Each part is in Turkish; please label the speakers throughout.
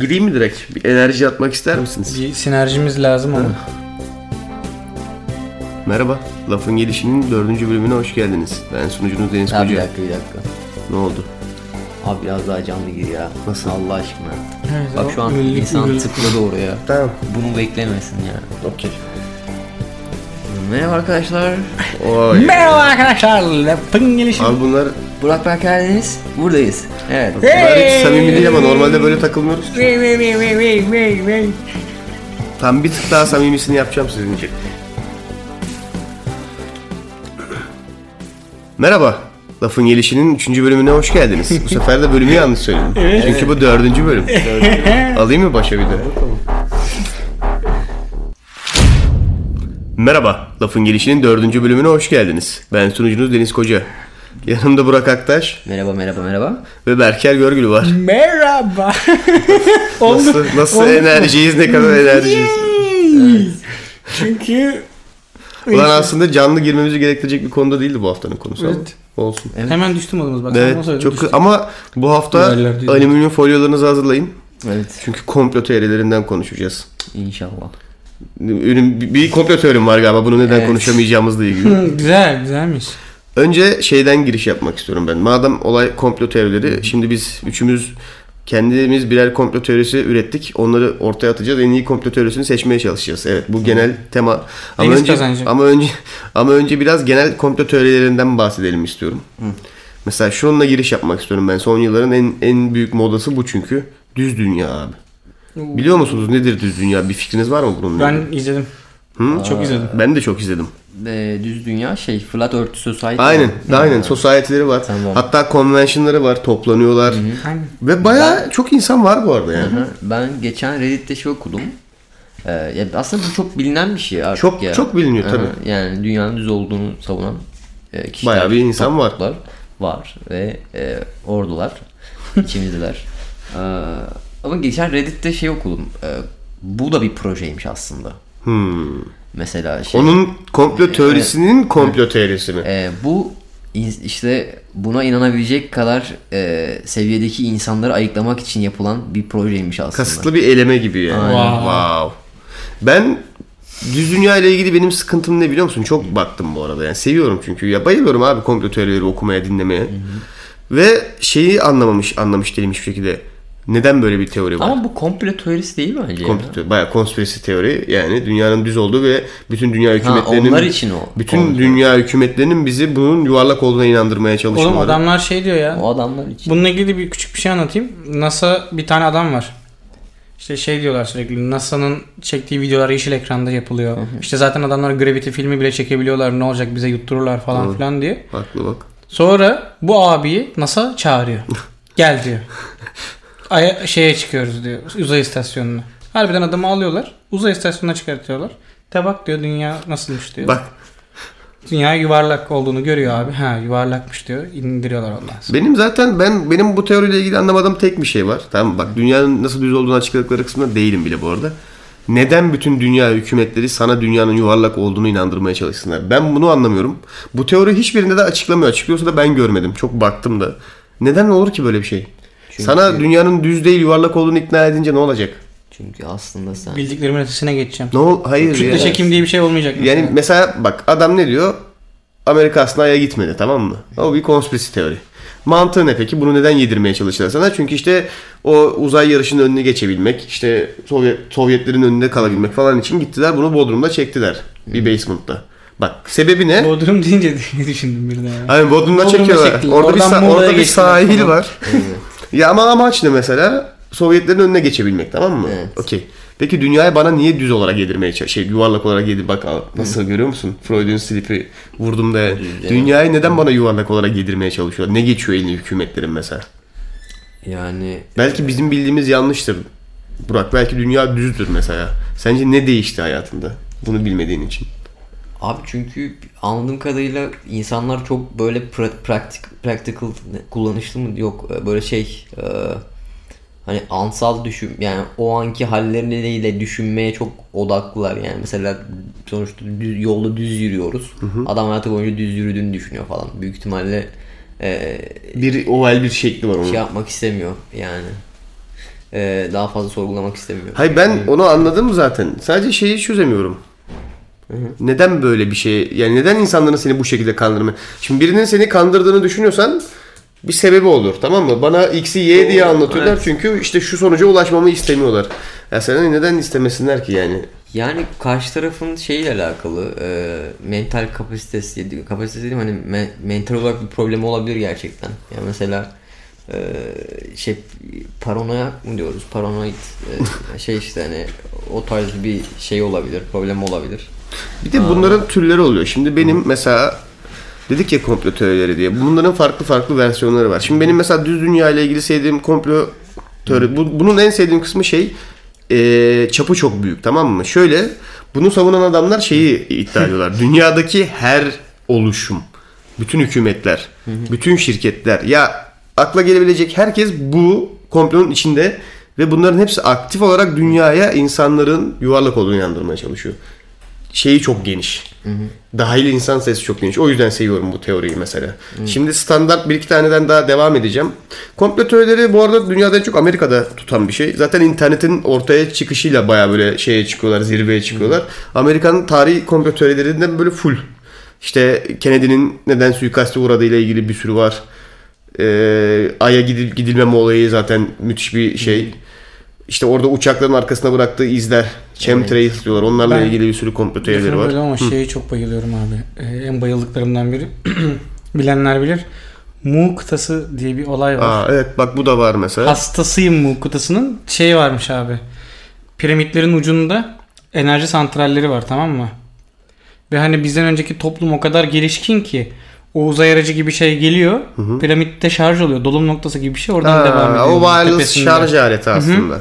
Speaker 1: Gireyim mi direkt? Bir enerji atmak ister misiniz?
Speaker 2: Bir sinerjimiz lazım ama.
Speaker 1: Merhaba. Lafın Gelişi'nin dördüncü bölümüne hoş geldiniz. Ben sunucunuz Deniz
Speaker 3: Abi bir
Speaker 1: Koca.
Speaker 3: dakika bir dakika.
Speaker 1: Ne oldu?
Speaker 3: Abi biraz daha canlı gir ya.
Speaker 1: Nasıl?
Speaker 3: Allah aşkına.
Speaker 2: Evet, o
Speaker 3: Bak şu an
Speaker 2: ünlülük,
Speaker 3: insan
Speaker 2: ünlülük.
Speaker 3: tıkladı oraya.
Speaker 1: Tamam.
Speaker 3: Bunu beklemesin ya.
Speaker 1: Okey.
Speaker 3: Merhaba arkadaşlar.
Speaker 1: Oy.
Speaker 2: Merhaba arkadaşlar. Lafın gelişi.
Speaker 1: Abi bunlar,
Speaker 3: Burak Berk Erdeniz. Buradayız. Evet.
Speaker 1: bunlar hiç samimi değil ama normalde böyle takılmıyoruz. ki.
Speaker 2: Vey vey vey vey vey vey vey.
Speaker 1: Tam bir tık daha samimisini yapacağım sizin için. Merhaba. Lafın Gelişi'nin 3. bölümüne hoş geldiniz. Bu sefer de bölümü yanlış söyledim. Çünkü bu dördüncü bölüm. Alayım mı başa bir de? Merhaba. Lafın Gelişi'nin 4. bölümüne hoş geldiniz. Ben sunucunuz Deniz Koca. Yanımda Burak Aktaş
Speaker 3: Merhaba merhaba merhaba.
Speaker 1: ve Berker Görgül var.
Speaker 2: Merhaba.
Speaker 1: Nasıl, nasıl enerjiyiz, ne kadar enerjiyiz.
Speaker 2: Çünkü
Speaker 1: Ulan aslında canlı girmemizi gerektirecek bir konuda değildi bu haftanın konusu ama.
Speaker 2: Evet.
Speaker 1: Olsun.
Speaker 2: hemen düştüm odamız bak.
Speaker 1: Evet, çok kı- ama bu hafta
Speaker 2: Güzeller değil mi?
Speaker 1: alüminyum folyolarınızı hazırlayın.
Speaker 3: Evet.
Speaker 1: Çünkü komplo teorilerinden konuşacağız.
Speaker 3: İnşallah.
Speaker 1: Ünüm, bir- bir komplo teorim var galiba bunu neden
Speaker 3: Evet.
Speaker 1: konuşamayacağımızla ilgili.
Speaker 2: Güzel güzelmiş.
Speaker 1: Önce şeyden giriş yapmak istiyorum ben. Madem olay komplo teorileri, şimdi biz üçümüz kendimiz birer komplo teorisi ürettik. Onları ortaya atacağız. En iyi komplo teorisini seçmeye çalışacağız. Evet, bu genel tema. Ama
Speaker 2: Deniz
Speaker 1: önce
Speaker 2: kazancı.
Speaker 1: ama önce ama önce biraz genel komplo teorilerinden bahsedelim istiyorum. Mesela şununla giriş yapmak istiyorum ben. Son yılların en en büyük modası bu çünkü düz dünya abi. Biliyor musunuz nedir düz dünya? Bir fikriniz var mı bununla?
Speaker 2: Ben izledim.
Speaker 1: Hı?
Speaker 2: Çok izledim.
Speaker 1: ben de çok izledim.
Speaker 3: Ee, düz dünya şey Flat Earth Society.
Speaker 1: Aynen, aynen. Society'leri var.
Speaker 3: Tamam.
Speaker 1: Hatta konvensiyonları var, toplanıyorlar.
Speaker 2: Aynen.
Speaker 1: Ve bayağı çok insan var bu arada yani.
Speaker 3: Hı, Ben geçen Reddit'te şey okudum. Ee, ya aslında bu çok bilinen bir şey artık
Speaker 1: Çok-
Speaker 3: ya.
Speaker 1: çok biliniyor
Speaker 3: Hı,
Speaker 1: tabii.
Speaker 3: Yani dünyanın düz olduğunu savunan e, kişiler.
Speaker 1: Bayağı bir insan var.
Speaker 3: topluluklar Var ve e, ordular içimizdeler. Ee, ama geçen Reddit'te şey okudum. Ee, bu da bir projeymiş aslında.
Speaker 1: Hmm.
Speaker 3: Mesela şey.
Speaker 1: Onun komplo teorisinin komplo teorisi mi?
Speaker 3: Ee, bu in- işte buna inanabilecek kadar e, seviyedeki insanları ayıklamak için yapılan bir projeymiş aslında.
Speaker 1: Kasıtlı bir eleme gibi yani.
Speaker 2: Aynen.
Speaker 1: Wow. Ben düz dünya ile ilgili benim sıkıntım ne biliyor musun? Çok baktım bu arada. Yani seviyorum çünkü. Ya bayılıyorum abi komplo teorileri okumaya, dinlemeye. Ve şeyi anlamamış, anlamış değilim hiçbir şekilde. Neden böyle bir teori var?
Speaker 3: Ama bu komplo teorisi değil bence. ya?
Speaker 1: Komplo teori- bayağı konspirasi teori yani dünyanın düz olduğu ve bütün dünya hükümetlerinin
Speaker 3: onlar için o.
Speaker 1: bütün
Speaker 3: Komplo.
Speaker 1: dünya hükümetlerinin bizi bunun yuvarlak olduğuna inandırmaya
Speaker 2: Oğlum
Speaker 1: çalışmaları.
Speaker 2: adamlar şey diyor ya.
Speaker 3: O adamlar için.
Speaker 2: Bununla ilgili bir küçük bir şey anlatayım. NASA bir tane adam var. İşte şey diyorlar sürekli NASA'nın çektiği videolar yeşil ekranda yapılıyor. İşte zaten adamlar Gravity filmi bile çekebiliyorlar. Ne olacak bize yuttururlar falan filan diye.
Speaker 1: Haklı bak.
Speaker 2: Sonra bu abiyi NASA çağırıyor. Gel diyor. Aya, şeye çıkıyoruz diyor. Uzay istasyonuna. Harbiden adamı alıyorlar. Uzay istasyonuna çıkartıyorlar. De bak diyor dünya nasılmış diyor.
Speaker 1: Bak
Speaker 2: Dünya yuvarlak olduğunu görüyor abi. Ha yuvarlakmış diyor. İndiriyorlar ondan sonra.
Speaker 1: benim zaten ben benim bu teoriyle ilgili anlamadığım tek bir şey var. Tamam mı? bak dünyanın nasıl düz olduğunu açıkladıkları kısmında değilim bile bu arada. Neden bütün dünya hükümetleri sana dünyanın yuvarlak olduğunu inandırmaya çalışsınlar? Ben bunu anlamıyorum. Bu teori hiçbirinde de açıklamıyor. Açıklıyorsa da ben görmedim. Çok baktım da. Neden olur ki böyle bir şey? Sana dünyanın düz değil yuvarlak olduğunu ikna edince ne olacak?
Speaker 3: Çünkü aslında sen
Speaker 2: Bildiklerimin ötesine geçeceğim.
Speaker 1: Ne ol? Hayır
Speaker 2: Kütle
Speaker 1: ya.
Speaker 2: çekim diye bir şey olmayacak. mı?
Speaker 1: Yani mesela bak adam ne diyor? Amerika aslında aya gitmedi tamam mı? O bir konspirasi teori. Mantığı ne peki? Bunu neden yedirmeye çalıştılar sana? Çünkü işte o uzay yarışının önüne geçebilmek, işte Sovyet, Sovyetlerin önünde kalabilmek falan için gittiler. Bunu Bodrum'da çektiler. Bir basement'ta. Bak sebebi ne?
Speaker 2: Bodrum deyince diye düşündüm birden. ya.
Speaker 1: Hani Bodrum'da
Speaker 2: Bodrum'a
Speaker 1: çekiyorlar.
Speaker 2: çektiler.
Speaker 1: Orada bir,
Speaker 2: Oradan
Speaker 1: sa-
Speaker 2: Muğla'ya
Speaker 1: orada bir
Speaker 2: geçtiler
Speaker 1: sahil
Speaker 2: falan.
Speaker 1: var. ya ama amaç ne mesela? Sovyetlerin önüne geçebilmek tamam mı? Okey. Peki dünyayı bana niye düz olarak yedirmeye çalışıyor? Şey yuvarlak olarak yedir bak al, nasıl görüyor musun? Freud'un slipi vurdum da yani. Dünyayı neden bana yuvarlak olarak yedirmeye çalışıyor? Ne geçiyor eline hükümetlerin mesela?
Speaker 3: yani
Speaker 1: Belki bizim bildiğimiz yanlıştır. Burak belki dünya düzdür mesela. Sence ne değişti hayatında? Bunu bilmediğin için.
Speaker 3: abi çünkü anladığım kadarıyla insanlar çok böyle pra- praktik practical ne- kullanışlı mı yok e, böyle şey e, hani ansal düşün yani o anki halleriyle düşünmeye çok odaklılar yani mesela sonuçta düz, yolda düz yürüyoruz. Adam hayatı boyunca düz yürüdüğünü düşünüyor falan. Büyük ihtimalle e,
Speaker 1: Bir oval bir şekli var onun.
Speaker 3: şey yapmak istemiyor yani. e, daha fazla sorgulamak istemiyor.
Speaker 1: Hayır ben onu anladım zaten. Sadece şeyi çözemiyorum. Neden böyle bir şey? Yani neden insanların seni bu şekilde kandırma? Şimdi birinin seni kandırdığını düşünüyorsan bir sebebi olur tamam mı? Bana X'i Y diye
Speaker 3: Doğru,
Speaker 1: anlatıyorlar
Speaker 3: evet.
Speaker 1: çünkü işte şu sonuca ulaşmamı istemiyorlar. Ya sana neden istemesinler ki yani?
Speaker 3: Yani karşı tarafın şeyle alakalı e, mental kapasitesi dedi- kapasitesi dedim hani me- mental olarak bir problemi olabilir gerçekten. Yani mesela e, şey paranoyak mı diyoruz? Paranoid e, şey işte hani o tarz bir şey olabilir, problem olabilir.
Speaker 1: Bir de bunların türleri oluyor. Şimdi benim mesela dedik ya komplo teorileri diye. Bunların farklı farklı versiyonları var. Şimdi benim mesela düz dünya ile ilgili sevdiğim komplo teori. bu- bunun en sevdiğim kısmı şey eee, çapı çok büyük tamam mı? Şöyle bunu savunan adamlar şeyi iddia ediyorlar. Dünyadaki her oluşum, bütün hükümetler, bütün şirketler ya akla gelebilecek herkes bu komplonun içinde ve bunların hepsi aktif olarak dünyaya insanların yuvarlak olduğunu inandırmaya çalışıyor şeyi çok geniş. Dahil insan sayısı çok geniş. O yüzden seviyorum bu teoriyi mesela. Şimdi standart bir iki taneden daha devam edeceğim. Komplo teorileri bu arada dünyada en çok Amerika'da tutan bir şey. Zaten internetin ortaya çıkışıyla baya böyle şeye çıkıyorlar, zirveye çıkıyorlar. Amerika'nın tarihi komplo teorilerinden böyle full. İşte Kennedy'nin neden suikaste uğradığıyla ilgili bir sürü var. Ee, Ay'a gidip gidilmeme olayı zaten müthiş bir şey. İşte orada uçakların arkasına bıraktığı izler. Chemtrails diyorlar. Onlarla
Speaker 2: Ben-
Speaker 1: ilgili bir sürü komplo teorileri
Speaker 2: Lafını
Speaker 1: var.
Speaker 2: böldüm ama şeyi çok bayılıyorum abi. Ee, en bayıldıklarımdan biri. Bilenler bilir. Mu kıtası diye bir olay var.
Speaker 1: Aa, evet bak bu da var mesela.
Speaker 2: Hastasıyım Mu kıtasının. Şey varmış abi. Piramitlerin ucunda enerji santralleri var tamam mı? Ve hani bizden önceki toplum o kadar gelişkin ki o uzay aracı gibi şey geliyor. Piramitte şarj oluyor. Dolum noktası gibi bir şey oradan
Speaker 1: Aa,
Speaker 2: devam ediyor.
Speaker 1: o wireless
Speaker 2: tepesinde.
Speaker 1: şarj aleti aslında.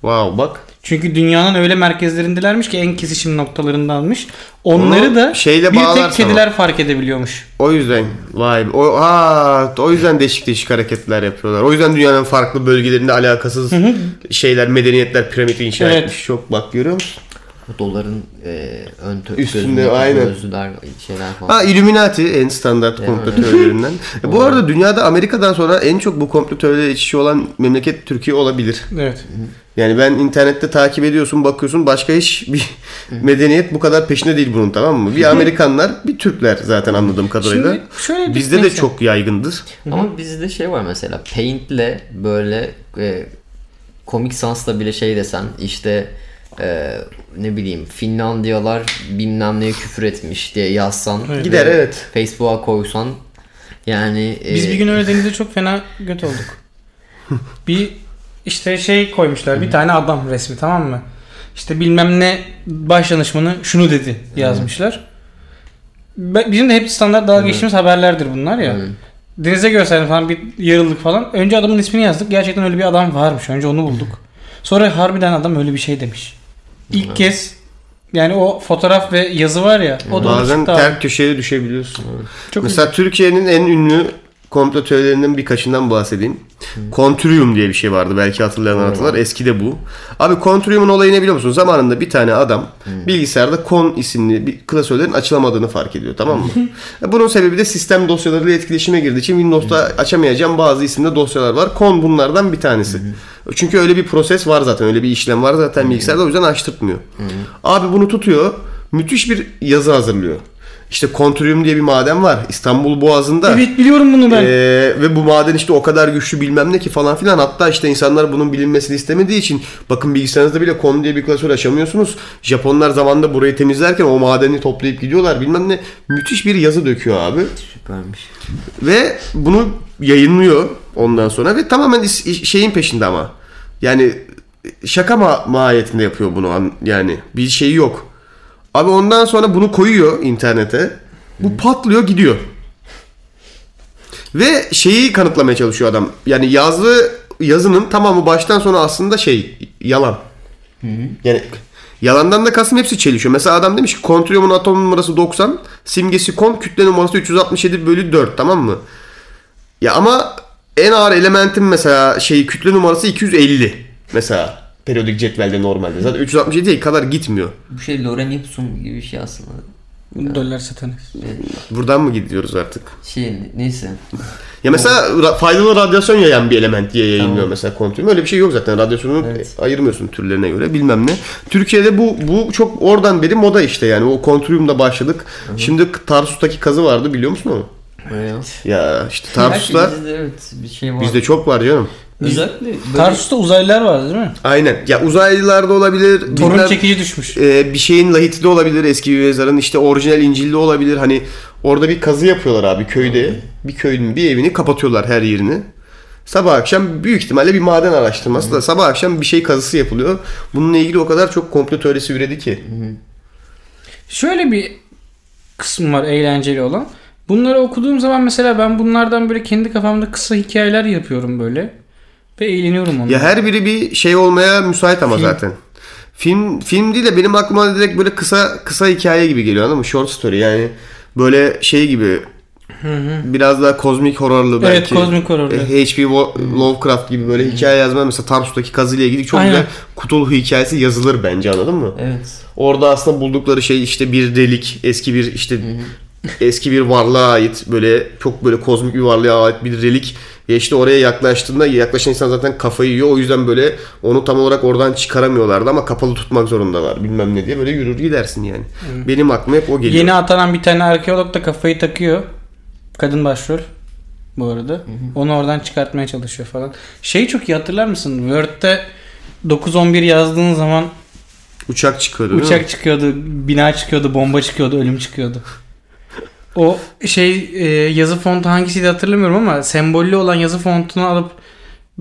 Speaker 1: Wow bak.
Speaker 2: Çünkü dünyanın öyle merkezlerindelermiş ki en kesişim noktalarındanmış. Onları
Speaker 1: Onu
Speaker 2: da
Speaker 1: şeyle
Speaker 2: bir tek
Speaker 1: bağlarsan
Speaker 2: kediler fark edebiliyormuş.
Speaker 1: O yüzden vay be. o aa, o yüzden değişik değişik hareketler yapıyorlar. O yüzden dünyanın farklı bölgelerinde alakasız şeyler, medeniyetler piramidi inşa
Speaker 2: Evet.
Speaker 1: etmiş. Çok bak görüyor musun?
Speaker 3: Bu doların e, ön tö-
Speaker 1: Üstünde,
Speaker 3: gözündeki
Speaker 1: aynen.
Speaker 3: gözlüler şeyler falan.
Speaker 1: Ha Illuminati en standart komplo teorilerinden. E, bu arada dünyada Amerika'dan sonra en çok bu komplo teorileri içişi olan memleket Türkiye olabilir.
Speaker 2: Evet.
Speaker 1: Yani ben internette takip ediyorsun bakıyorsun başka hiç bir medeniyet bu kadar peşinde değil bunun tamam mı? Bir Amerikanlar bir Türkler zaten anladığım kadarıyla.
Speaker 2: Şimdi şöyle bir-
Speaker 1: Bizde de
Speaker 2: neyse.
Speaker 1: çok yaygındır.
Speaker 3: Ama bizde şey var mesela Paint'le böyle e, komik sansla bile şey desen işte e, ne bileyim Finlandiyalar bilmem neye küfür etmiş diye yazsan
Speaker 2: Evet.
Speaker 1: Gider
Speaker 3: ve
Speaker 1: evet.
Speaker 3: Facebook'a koysan yani e,
Speaker 1: Ee,
Speaker 2: Biz bir gün öyle denize çok fena göt olduk. bir işte şey koymuşlar bir tane adam resmi tamam mı? İşte bilmem ne baş danışmanı şunu dedi yazmışlar. Be- Bizim de hep standart dalga geçtiğimiz haberlerdir bunlar ya. Denize gösterdim falan bir yarıldık falan. Önce adamın ismini yazdık. Gerçekten öyle bir adam varmış. Önce onu bulduk. Sonra harbiden adam öyle bir şey demiş. İlk kez yani o fotoğraf ve yazı var ya. O da
Speaker 1: Bazen
Speaker 2: çıktı abi.
Speaker 1: ter köşeye düşebiliyorsun.
Speaker 2: Çok
Speaker 1: Mesela Türkiye'nin en ünlü komplo teorilerinden birkaçından bahsedeyim. Kontrüyum diye bir şey vardı belki hatırlayan hatırlar. Eski de bu. Abi kontrüyumun olayı ne biliyor musun? Zamanında bir tane adam bilgisayarda kon isimli bir klasörlerin açılamadığını fark ediyor tamam mı? E, Bunun sebebi de sistem dosyalarıyla etkileşime girdiği için Windows'ta açamayacağım bazı isimde dosyalar var. Kon bunlardan bir tanesi. Çünkü öyle bir proses var zaten. Öyle bir işlem var zaten bilgisayarda o yüzden açtırtmıyor. Abi bunu tutuyor. Müthiş bir yazı hazırlıyor. İşte kontrüyum diye bir maden var. İstanbul Boğazı'nda.
Speaker 2: Evet biliyorum bunu ben.
Speaker 1: Ee, ve bu maden işte o kadar güçlü bilmem ne ki falan filan. Hatta işte insanlar bunun bilinmesini istemediği için bakın bilgisayarınızda bile kon diye bir klasör açamıyorsunuz. Japonlar zamanında burayı temizlerken o madeni toplayıp gidiyorlar bilmem ne. Müthiş bir yazı döküyor abi.
Speaker 3: süpermiş.
Speaker 1: Ve bunu yayınlıyor ondan sonra ve tamamen is- iş- şeyin peşinde ama. Yani şaka ma- mahiyetinde yapıyor bunu an- yani bir şeyi yok. Abi ondan sonra bunu koyuyor internete. Bu patlıyor gidiyor. Ve şeyi kanıtlamaya çalışıyor adam. Yani yazdığı yazının tamamı baştan sona aslında şey yalan. Yani yalandan da kasım hepsi çelişiyor. Mesela adam demiş ki kontriyumun atom numarası 90, simgesi kon, kütle numarası 367 bölü 4 tamam mı? Ya ama en ağır elementin mesela şeyi kütle numarası 250 mesela periyodik cetvelde normalde. Zaten 367'ye kadar gitmiyor.
Speaker 3: Bu şey Lorem Ipsum gibi bir şey aslında.
Speaker 1: Ee,
Speaker 2: Dolar satanız.
Speaker 1: Buradan mı gidiyoruz artık?
Speaker 3: Şey neyse.
Speaker 1: Ya mesela ra- faydalı radyasyon yayan bir element diye yayınlıyor mesela kontürüm. Öyle bir şey yok zaten. Radyasyonu
Speaker 3: Evet.
Speaker 1: ayırmıyorsun türlerine göre bilmem ne. Türkiye'de bu bu çok oradan beri moda işte yani. O kontrümde başladık. Şimdi Tarsus'taki kazı vardı biliyor musun onu?
Speaker 3: Evet.
Speaker 1: Ya işte Tarsus'ta
Speaker 3: Bizde evet bir şey var.
Speaker 1: bizde çok var canım.
Speaker 3: Özellikle böyle-
Speaker 2: Tarsus'ta uzaylılar vardı değil mi?
Speaker 1: Aynen. Ya uzaylılarda olabilir.
Speaker 2: Torun
Speaker 1: bilmem-
Speaker 2: çekici düşmüş.
Speaker 1: e, bir şeyin lahiti de olabilir eski bir mezarın işte orijinal İncil'de olabilir hani orada bir kazı yapıyorlar abi köyde bir köyün bir evini kapatıyorlar her yerini sabah akşam büyük ihtimalle bir maden araştırması da sabah akşam bir şey kazısı yapılıyor bununla ilgili o kadar çok komplo teorisi üredi ki
Speaker 2: Şöyle bir kısım var eğlenceli olan. Bunları okuduğum zaman mesela ben bunlardan böyle kendi kafamda kısa hikayeler yapıyorum böyle. Ve eğleniyorum onunla.
Speaker 1: ya her biri bir şey olmaya müsait ama zaten film film değil de benim aklıma direkt böyle kısa kısa hikaye gibi geliyor anladın mı short story yani böyle şey gibi biraz daha kozmik horrorlu belki.
Speaker 2: Evet kozmik horrorlu.
Speaker 1: E, H.P. Wo- Lovecraft gibi böyle hikaye yazma mesela Tarsus'taki kazıyla ilgili çok
Speaker 2: Aynen.
Speaker 1: güzel Cthulhu hikayesi yazılır bence anladın mı?
Speaker 3: Evet.
Speaker 1: Orada aslında buldukları şey işte bir delik, eski bir işte eski bir varlığa ait böyle çok böyle kozmik bir varlığa ait bir relik ve işte oraya yaklaştığında yaklaşan insan zaten kafayı yiyor. O yüzden böyle onu tam olarak oradan çıkaramıyorlardı ama kapalı tutmak zorundalar bilmem ne diye böyle yürür gidersin yani. Benim aklıma hep o geliyor.
Speaker 2: Yeni atanan bir tane arkeolog da kafayı takıyor. Kadın başrol bu arada. Onu oradan çıkartmaya çalışıyor falan. Şeyi çok iyi hatırlar mısın? Word'de 911 yazdığın zaman
Speaker 1: Uçak çıkıyordu değil mi?
Speaker 2: uçak çıkıyordu, bina çıkıyordu, bomba çıkıyordu, ölüm çıkıyordu. O şey e, yazı fontu hangisiydi hatırlamıyorum ama sembollü olan yazı fontunu alıp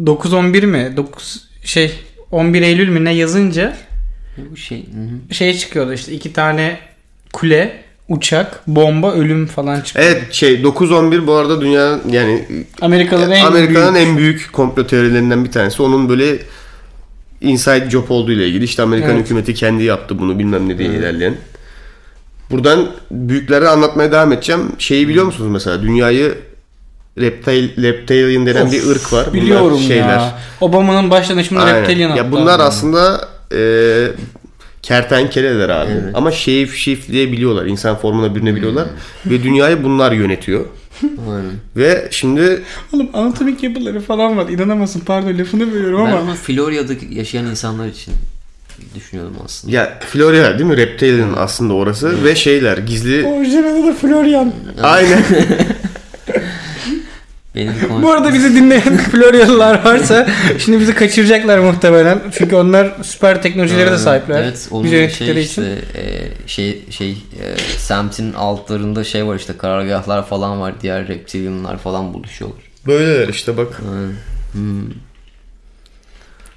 Speaker 2: 911 mi? 9 şey 11 Eylül mü ne yazınca
Speaker 3: Bu şey. Hı hı.
Speaker 2: şey çıkıyordu işte iki tane kule, uçak, bomba, ölüm falan çıkıyordu.
Speaker 1: Evet şey 9-11 bu arada dünya yani
Speaker 2: Amerikalıların en
Speaker 1: E, Amerika'nın
Speaker 2: büyük.
Speaker 1: en büyük komplo teorilerinden bir tanesi. Onun böyle inside job olduğu ile ilgili. İşte Amerikan
Speaker 2: Evet.
Speaker 1: hükümeti kendi yaptı bunu bilmem ne diye ilerleyen. Buradan büyükleri anlatmaya devam edeceğim. Şeyi biliyor musunuz mesela dünyayı reptil, reptilian denen
Speaker 2: Of,
Speaker 1: bir ırk var. Bunlar
Speaker 2: Biliyorum ya. Obama'nın başlanışında
Speaker 1: Aynen.
Speaker 2: reptilian
Speaker 1: Ya
Speaker 2: hatta.
Speaker 1: bunlar aslında e, kertenkeleler abi. Ama şeyif şifleyebiliyorlar. İnsan formuna bürünebiliyorlar.
Speaker 2: Hmm.
Speaker 1: Ve dünyayı bunlar yönetiyor.
Speaker 3: Aynen.
Speaker 1: Ve şimdi
Speaker 2: Oğlum anatomik yapıları falan var. İnanamazsın pardon lafını bölüyorum
Speaker 3: Ben
Speaker 2: ama.
Speaker 3: ama Florya'da yaşayan insanlar için düşünüyordum aslında.
Speaker 1: Ya Florya değil mi? Reptilian aslında orası ve şeyler gizli.
Speaker 2: Orijinalde de Florian.
Speaker 1: Aynen.
Speaker 3: Benim konuş-
Speaker 2: Bu arada bizi dinleyen Floryalılar varsa şimdi bizi kaçıracaklar muhtemelen. Çünkü onlar süper teknolojilere de
Speaker 3: Aynen.
Speaker 2: sahipler.
Speaker 3: Evet onun
Speaker 2: Biz
Speaker 3: şey
Speaker 2: yönettikleri
Speaker 3: işte e, şey şey e, semtin altlarında şey var işte karargahlar falan var diğer reptilianlar falan buluşuyorlar.
Speaker 1: Böyleler işte bak.
Speaker 3: Aynen.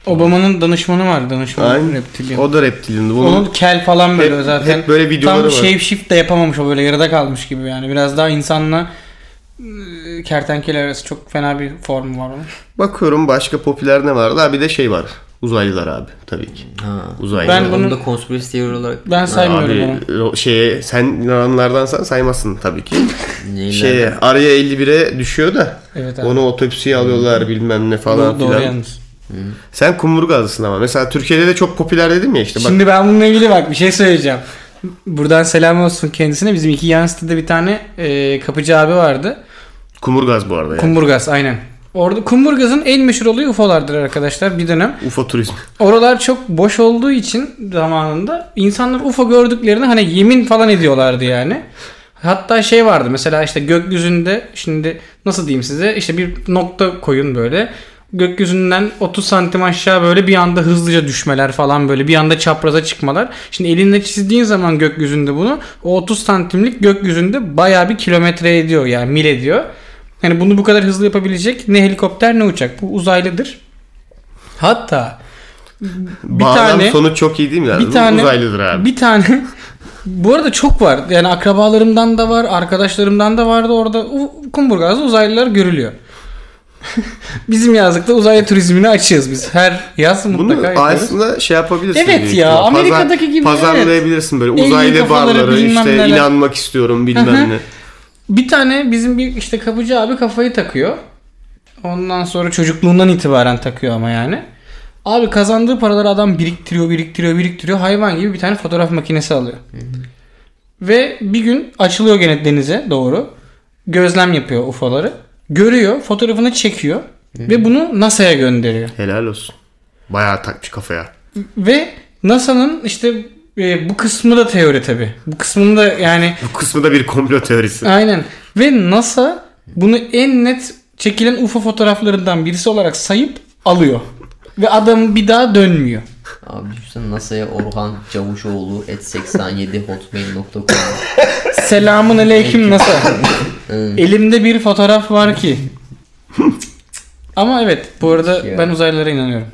Speaker 2: Obama'nın danışmanı var. Danışmanı
Speaker 1: Aynen.
Speaker 2: reptilian.
Speaker 1: O da reptiliandı. Bunun
Speaker 2: Onun kel falan böyle
Speaker 1: hep,
Speaker 2: zaten.
Speaker 1: hep böyle videoları
Speaker 2: Tam
Speaker 1: var.
Speaker 2: shape shift de yapamamış o böyle yarıda kalmış gibi yani. Biraz daha insanla e, kertenkele arası çok fena bir formu var onun.
Speaker 1: Bakıyorum başka popüler ne vardı? Ha bir de şey var. Uzaylılar abi tabii ki.
Speaker 3: Ha.
Speaker 1: Uzaylı.
Speaker 2: Ben
Speaker 3: Ben
Speaker 2: bunu-
Speaker 3: bunu da konspirasyon teori olarak
Speaker 2: Ben saymıyorum
Speaker 1: Abi
Speaker 2: onu.
Speaker 1: ro- şeye sen inananlardansan saymazsın tabii ki.
Speaker 3: neyler-
Speaker 1: Şeye araya 51'e düşüyor da
Speaker 2: Evet abi.
Speaker 1: onu otopsiye alıyorlar bilmem ne falan
Speaker 2: Doğru, doğru
Speaker 1: filan.
Speaker 2: yalnız.
Speaker 1: Sen kumurgazlısın ama. Mesela Türkiye'de de çok popüler dedim ya işte bak.
Speaker 2: Şimdi ben bununla ilgili bak bir şey söyleyeceğim. Buradan selam olsun kendisine. Bizim iki yan sitede bir tane e, kapıcı abi vardı.
Speaker 1: Kumurgaz bu arada yani.
Speaker 2: Kumburgaz aynen. Orada Kumburgaz'ın en meşhur olayı UFO'lardır arkadaşlar bir dönem.
Speaker 1: UFO turizmi.
Speaker 2: Oralar çok boş olduğu için zamanında insanlar UFO gördüklerini hani yemin falan ediyorlardı yani. Hatta şey vardı mesela işte gökyüzünde şimdi nasıl diyeyim size işte bir nokta koyun böyle gökyüzünden 30 santim aşağı böyle bir anda hızlıca düşmeler falan böyle bir anda çapraza çıkmalar. Şimdi elinle çizdiğin zaman gökyüzünde bunu o 30 santimlik gökyüzünde bayağı bir kilometre ediyor yani mil ediyor. Yani bunu bu kadar hızlı yapabilecek ne helikopter ne uçak. Bu uzaylıdır. Hatta bir
Speaker 1: Bağlam
Speaker 2: tane
Speaker 1: sonu çok iyi değil mi?
Speaker 2: bir tane
Speaker 1: Uzaylıdır abi.
Speaker 2: Bir tane Bu arada çok var. Yani akrabalarımdan da var, arkadaşlarımdan da vardı orada. U- Kumburgaz'da uzaylılar görülüyor. Bizim yazlıkta uzaylı turizmini açığız biz. Her yaz
Speaker 1: Bunu
Speaker 2: mutlaka yaparız.
Speaker 1: aslında şey yapabilirsin.
Speaker 2: Evet
Speaker 1: büyük
Speaker 2: ya,
Speaker 1: ihtimal.
Speaker 2: Amerika'daki gibi,
Speaker 1: Pazarlayabilirsin böyle
Speaker 2: Evli
Speaker 1: uzaylı
Speaker 2: kafaları,
Speaker 1: barları
Speaker 2: bilmem
Speaker 1: işte
Speaker 2: neler.
Speaker 1: inanmak istiyorum bilmem ne.
Speaker 2: Bir tane bizim bir işte kapıcı abi kafayı takıyor. Ondan sonra çocukluğundan itibaren takıyor ama yani. Abi kazandığı paraları adam biriktiriyor, biriktiriyor, biriktiriyor. Hayvan gibi bir tane fotoğraf makinesi alıyor. Ve bir gün açılıyor gene denize doğru. Gözlem yapıyor UFO'ları. Görüyor, fotoğrafını çekiyor ve bunu NASA'ya gönderiyor.
Speaker 1: Helal olsun. Bayağı takmış kafaya.
Speaker 2: Ve NASA'nın işte e, bu kısmı da teori tabi. Bu kısmını da yani
Speaker 1: Bu kısmı da bir komplo teorisi.
Speaker 2: aynen. Ve NASA bunu en net çekilen UFO fotoğraflarından birisi olarak sayıp alıyor. Ve adam bir daha dönmüyor.
Speaker 3: Abi düşünsene NASA'ya Orhan Çavuşoğlu et 87 hotmail.com
Speaker 2: Selamun aleyküm NASA. Elimde bir fotoğraf var ki. Ama evet bu arada
Speaker 3: Ya.
Speaker 2: ben uzaylılara inanıyorum.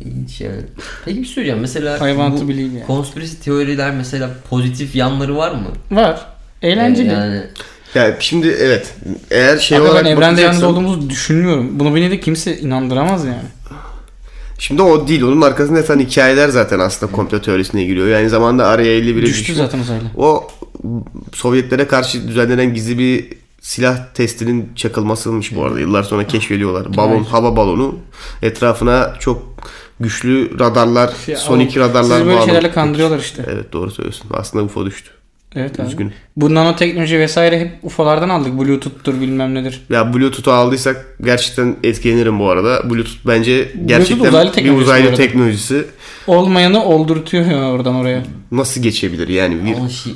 Speaker 3: İlginç yani. Peki bir şey söyleyeceğim. Mesela
Speaker 2: I want
Speaker 3: bu
Speaker 2: to believe yani.
Speaker 3: konspirasi teoriler mesela pozitif yanları var mı? Ee,
Speaker 2: Var. Eğlenceli.
Speaker 3: Yani
Speaker 1: Yani şimdi evet. Eğer şey
Speaker 2: Abi
Speaker 1: olarak
Speaker 2: ben evrende
Speaker 1: bakacaksan-
Speaker 2: yalnız olduğumuzu düşünmüyorum. Bunu beni de kimse inandıramaz yani.
Speaker 1: Şimdi o değil. Onun arkasında zaten hikayeler zaten aslında komplo teorisine giriyor. Yani zamanda araya 51
Speaker 2: Düştü zaten uzaylı.
Speaker 1: O Sovyetlere karşı düzenlenen gizli bir silah testinin çakılmasıymış bu arada. Yıllar sonra keşfediyorlar. Balon, hava balonu etrafına çok güçlü radarlar,
Speaker 2: Ya
Speaker 1: sonik
Speaker 2: oğlum,
Speaker 1: radarlar
Speaker 2: Sizi Şey, böyle
Speaker 1: bağlı.
Speaker 2: şeylerle kandırıyorlar işte.
Speaker 1: Evet doğru söylüyorsun. Aslında UFO düştü.
Speaker 2: Evet abi.
Speaker 1: Üzgünüm.
Speaker 2: Bu nanoteknoloji vesaire hep UFO'lardan aldık. Bluetooth'tur bilmem nedir.
Speaker 1: Ya Bluetooth'u aldıysak gerçekten etkilenirim bu arada. Bluetooth bence gerçekten
Speaker 2: uzaylı
Speaker 1: bir
Speaker 2: teknolojisi bu
Speaker 1: uzaylı
Speaker 2: arada.
Speaker 1: teknolojisi.
Speaker 2: Olmayanı oldurtuyor ya oradan oraya.
Speaker 1: Nasıl geçebilir yani? Bir
Speaker 3: ama şey,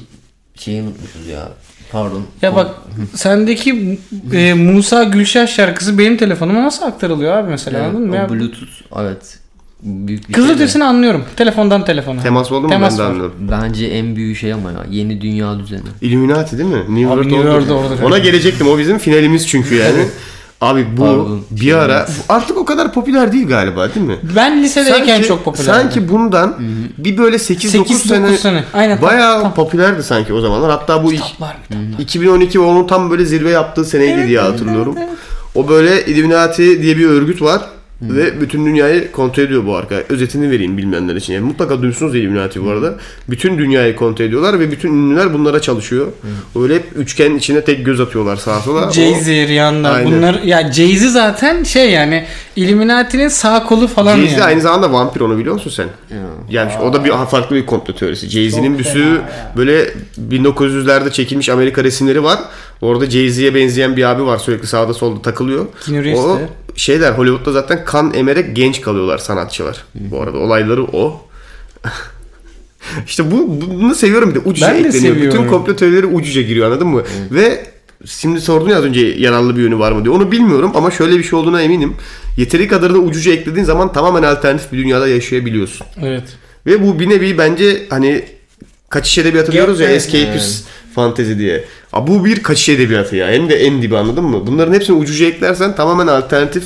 Speaker 3: şeyi unutmuşuz ya. Pardon.
Speaker 2: Ya bak sendeki e, Musa Gülşah şarkısı benim telefonuma nasıl aktarılıyor abi mesela
Speaker 3: Evet,
Speaker 2: anladın mı? Ya,
Speaker 3: o Bluetooth evet. Büyük bir
Speaker 2: kız
Speaker 3: şey de-
Speaker 2: ötesini anlıyorum. Telefondan telefona.
Speaker 1: temas oldu mu
Speaker 2: Temas
Speaker 1: ben de
Speaker 2: var.
Speaker 1: anladım.
Speaker 3: Bence en büyük şey ama ya yeni dünya düzeni.
Speaker 1: Illuminati değil mi? New
Speaker 2: Abi
Speaker 1: World
Speaker 2: New
Speaker 1: Order.
Speaker 2: World Order.
Speaker 1: Ona gelecektim. O bizim finalimiz çünkü yani. Abi bu
Speaker 3: Pardon.
Speaker 1: bir ara bu artık o kadar popüler değil galiba değil mi?
Speaker 2: Ben lisedeyken çok popülerdi.
Speaker 1: Sanki bundan bir böyle 8-9
Speaker 2: 8-9
Speaker 1: sene,
Speaker 2: sene. Aynen, tam-
Speaker 1: bayağı popülerdi sanki o zamanlar. Hatta bu ilk,
Speaker 2: var bir
Speaker 1: 2012 ve onun tam böyle zirve yaptığı seneydi diye hatırlıyorum. O böyle Illuminati diye bir örgüt var. Ve bütün dünyayı kontrol ediyor bu arka. Özetini vereyim bilmeyenler için. Yani mutlaka duymuşsunuz Illuminati bu arada. Bütün dünyayı kontrol ediyorlar ve bütün ünlüler bunlara çalışıyor. Öyle hep üçgen içine tek göz atıyorlar sağa sola. O-
Speaker 2: Jay-Z, Rihanna
Speaker 1: Aynen.
Speaker 2: bunlar ya Jay-Z zaten şey yani Illuminati'nin sağ kolu falan
Speaker 1: Jay-Z
Speaker 2: yani.
Speaker 1: aynı zamanda vampir onu biliyor musun sen? Yani şu- o da bir farklı bir komplo teorisi. Jay-Z'nin bir sürü böyle 1900'lerde çekilmiş Amerika resimleri var. Orada Jay-Z'ye benzeyen bir abi var sürekli sağda solda takılıyor.
Speaker 2: Keanu Reeves
Speaker 1: o
Speaker 2: de.
Speaker 1: şeyler Hollywood'da zaten kan emerek genç kalıyorlar sanatçılar. Bu arada olayları o. işte bu bunu seviyorum bir de ucuca
Speaker 2: Ben de
Speaker 1: ekleniyor. Bütün
Speaker 2: seviyorum.
Speaker 1: komplo teorileri ucuca giriyor anladın mı? Ve şimdi sordun ya az önce yararlı bir yönü var mı diye. Onu bilmiyorum ama şöyle bir şey olduğuna eminim. Yeteri kadarını ucuca eklediğin zaman tamamen alternatif bir dünyada yaşayabiliyorsun.
Speaker 2: Evet.
Speaker 1: Ve bu bir nevi bence hani kaçış edebiyatı diyoruz ya
Speaker 2: evet.
Speaker 1: escapist fantezi diye. Aa, bu bir kaçış edebiyatı ya. Hem de en dibi anladın mı? Bunların hepsini ucuca eklersen tamamen alternatif